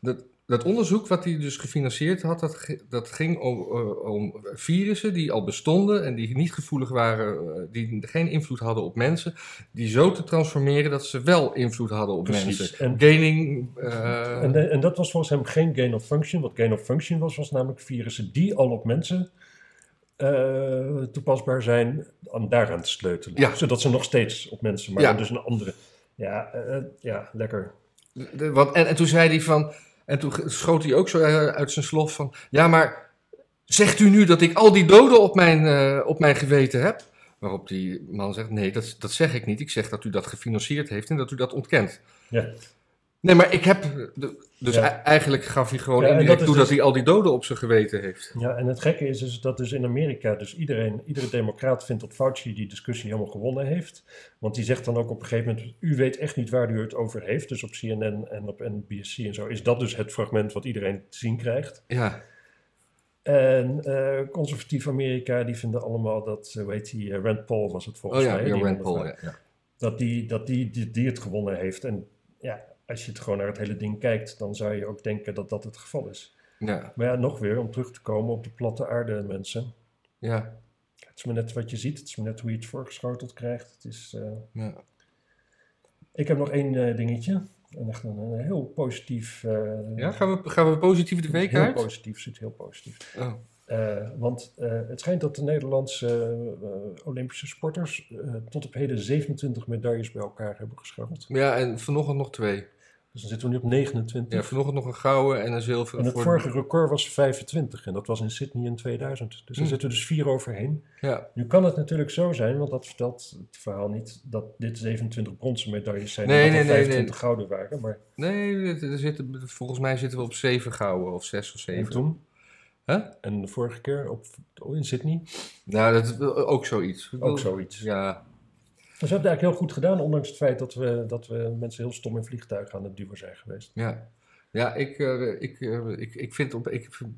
Speaker 1: dat, dat onderzoek wat hij dus gefinancierd had, dat, ge- dat ging om, eh, om virussen die al bestonden en die niet gevoelig waren, eh, die geen invloed hadden op mensen, die zo te transformeren dat ze wel invloed hadden op
Speaker 2: Precies.
Speaker 1: mensen.
Speaker 2: En-
Speaker 1: Gaining. eh,
Speaker 2: en, en dat was volgens hem geen gain of function. Wat gain of function was, was namelijk virussen die al op mensen eh, toepasbaar zijn, om daaraan te sleutelen.
Speaker 1: Ja.
Speaker 2: Zodat ze nog steeds op mensen, maar
Speaker 1: Ja.
Speaker 2: dan dus een andere. Ja, eh, eh, ja, lekker.
Speaker 1: De- want, en, en toen zei hij van. En toen ge- schoot hij ook zo eh, uit zijn slof van. Ja, maar zegt u nu dat ik al die doden op mijn, eh, op mijn geweten heb? Waarop die man zegt: Nee, dat, dat zeg ik niet. Ik zeg dat u dat gefinancierd heeft en dat u dat ontkent.
Speaker 2: Ja.
Speaker 1: Nee, maar ik heb. de- dus
Speaker 2: Ja.
Speaker 1: ei- eigenlijk gaf hij gewoon
Speaker 2: Ja, en
Speaker 1: indirect
Speaker 2: dat is
Speaker 1: toe dat
Speaker 2: dus-
Speaker 1: hij al die doden op zijn geweten heeft.
Speaker 2: Ja, en het gekke is, is dat dus in Amerika dus iedereen, iedere democraat vindt dat Fauci die discussie helemaal gewonnen heeft. Want die zegt dan ook op een gegeven moment, u weet echt niet waar u het over heeft. Dus op CNN en op NBC en zo is dat dus het fragment wat iedereen te zien krijgt.
Speaker 1: Ja,
Speaker 2: En eh, conservatief Amerika, die vinden allemaal dat, eh, hoe heet die, eh, Rand Paul was het
Speaker 1: oh
Speaker 2: volgens
Speaker 1: ja,
Speaker 2: mij.
Speaker 1: weer
Speaker 2: die
Speaker 1: Rand
Speaker 2: man
Speaker 1: Paul.
Speaker 2: dat-
Speaker 1: Ja, ja.
Speaker 2: Dat, die, dat die, die, die het gewonnen heeft. En ja, als je het gewoon naar het hele ding kijkt, dan zou je ook denken dat dat het geval is.
Speaker 1: Ja,
Speaker 2: Maar ja, nog weer, om terug te komen op de platte aarde mensen.
Speaker 1: ja,
Speaker 2: Het is maar net wat je ziet, het is maar net hoe je het voorgeschoteld krijgt. Het is, eh,
Speaker 1: ja.
Speaker 2: Ik heb nog één eh, dingetje. En echt een, een heel positief. eh,
Speaker 1: Ja, gaan we, gaan we positief de week
Speaker 2: heel
Speaker 1: uit?
Speaker 2: positief, zit heel positief.
Speaker 1: Oh,
Speaker 2: Eh, want eh, het schijnt dat de Nederlandse eh, Olympische sporters eh, tot op heden 27 medailles bij elkaar hebben gescharreld.
Speaker 1: Ja, en vanochtend nog twee.
Speaker 2: Dus dan zitten we nu op 29.
Speaker 1: Ja, vanochtend nog een gouden en een zilveren.
Speaker 2: en het
Speaker 1: voor-
Speaker 2: vorige record was 25 en dat was in Sydney in 2000. Dus daar
Speaker 1: Hm.
Speaker 2: zitten we dus vier overheen.
Speaker 1: Ja,
Speaker 2: Nu kan het natuurlijk zo zijn, want dat vertelt het verhaal niet, dat dit 27 bronzen medailles zijn
Speaker 1: Nee,
Speaker 2: en dat
Speaker 1: nee,
Speaker 2: er
Speaker 1: nee, nee.
Speaker 2: 25 gouden waren. Maar
Speaker 1: nee, dit- er zitten, volgens mij zitten we op zeven gouden of zes of
Speaker 2: en
Speaker 1: zeven.
Speaker 2: toen,
Speaker 1: Huh?
Speaker 2: en de vorige keer op, oh, in Sydney,
Speaker 1: Nou, dat is wel ook zoiets. Ik bedoel-
Speaker 2: ook zoiets.
Speaker 1: Ja,
Speaker 2: Dus we hebben het eigenlijk heel goed gedaan, ondanks het feit dat we, dat we mensen heel stom in vliegtuigen aan het duwen zijn geweest.
Speaker 1: ja. Ja, ik, eh, ik, eh, ik, ik vind op, ik, vind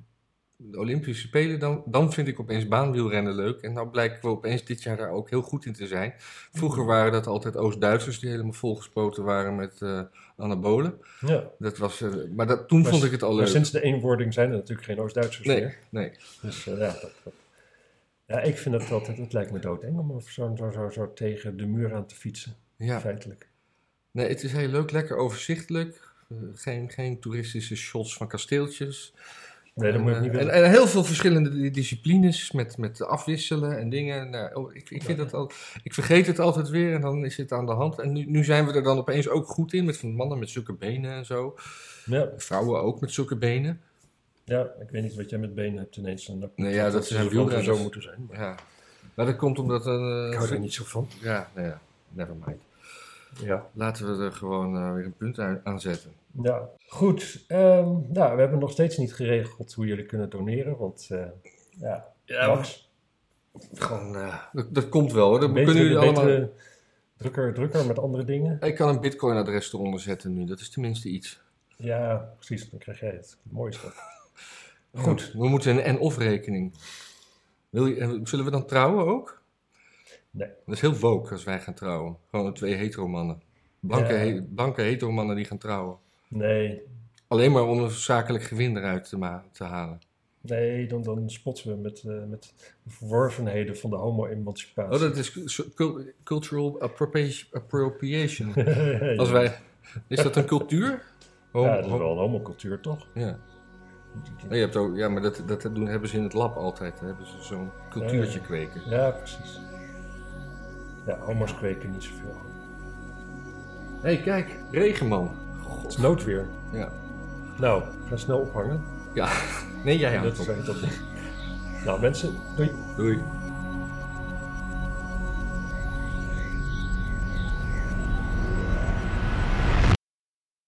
Speaker 1: de Olympische Spelen, dan, dan vind ik opeens baanwielrennen leuk. En nou blijken we opeens dit jaar daar ook heel goed in te zijn. Vroeger waren dat altijd Oost-Duitsers die helemaal volgespoten waren met eh, anabolen.
Speaker 2: Ja.
Speaker 1: Dat was, eh, maar dat, toen
Speaker 2: Maar
Speaker 1: vond
Speaker 2: s-
Speaker 1: ik het al
Speaker 2: Maar
Speaker 1: leuk.
Speaker 2: sinds de eenwording zijn er natuurlijk geen Oost-Duitsers
Speaker 1: Nee,
Speaker 2: meer.
Speaker 1: nee.
Speaker 2: Dus eh, ja, dat, dat- ja, ik vind het altijd, het lijkt me doodeng om over zo, zo, zo, zo tegen de muur aan te fietsen,
Speaker 1: Ja.
Speaker 2: feitelijk.
Speaker 1: Nee, het is heel leuk, lekker overzichtelijk. Eh, geen, geen toeristische shots van kasteeltjes.
Speaker 2: Nee, dat moet ik
Speaker 1: En,
Speaker 2: niet
Speaker 1: eh,
Speaker 2: willen.
Speaker 1: en, en heel veel verschillende di- disciplines met, met afwisselen en dingen. Nou, oh, ik, ik, vind dat al, ik vergeet het altijd weer en dan is het aan de hand. En nu, nu zijn we er dan opeens ook goed in met van mannen met zulke benen en zo.
Speaker 2: Ja,
Speaker 1: Vrouwen ook met zulke benen.
Speaker 2: ja, ik weet niet wat jij met benen hebt ineens. En
Speaker 1: Nee, ja, dat zijn
Speaker 2: zou gewoon
Speaker 1: wielrenners.
Speaker 2: zo moeten zijn. Maar
Speaker 1: Ja. Maar dat komt omdat... eh,
Speaker 2: ik hou er niet zo van.
Speaker 1: ja, nou ja, never mind.
Speaker 2: Ja.
Speaker 1: Laten we er gewoon eh, weer een punt aan aan zetten.
Speaker 2: ja. Goed, ehm, nou, we hebben nog steeds niet geregeld hoe jullie kunnen doneren, want eh, ja, Max,
Speaker 1: Gewoon, eh, dat, dat komt wel hoor. Dat
Speaker 2: Betere-
Speaker 1: kunnen jullie allemaal...
Speaker 2: betere drukker, drukker met andere dingen.
Speaker 1: Ik kan een bitcoin-adres eronder zetten nu, dat is tenminste iets.
Speaker 2: Ja, precies. Dan krijg jij het. Mooi is dat. Goed.
Speaker 1: Ja, We moeten een en-of rekening. Wil je, en zullen we dan trouwen ook?
Speaker 2: Nee.
Speaker 1: Dat is heel woke als wij gaan trouwen. Gewoon twee heteromannen. Blanke,
Speaker 2: Ja.
Speaker 1: he- blanke heteromannen die gaan trouwen.
Speaker 2: Nee,
Speaker 1: Alleen maar om een zakelijk gewin eruit te, ma- te halen.
Speaker 2: nee dan, dan spotsen we met, eh, met de verworvenheden van de homo-emancipatie.
Speaker 1: Oh, dat is cu- cul- cultural appropria- appropriation. Als wij, is dat een cultuur? Oh,
Speaker 2: Ja, dat is
Speaker 1: oh,
Speaker 2: wel een homocultuur, toch?
Speaker 1: ja. Oh, je hebt ook, ja, maar dat, dat doen, hebben ze in het lab altijd. Dan hebben ze zo'n cultuurtje kweken.
Speaker 2: Ja, precies. Ja, homo's kweken niet zoveel.
Speaker 1: Hé, hey, kijk, regenman.
Speaker 2: Het is noodweer.
Speaker 1: Ja.
Speaker 2: Nou, we gaan snel ophangen.
Speaker 1: Ja. Nee, jij
Speaker 2: dat
Speaker 1: hangt
Speaker 2: is
Speaker 1: op.
Speaker 2: dat. Nou, mensen, doei.
Speaker 1: Doei.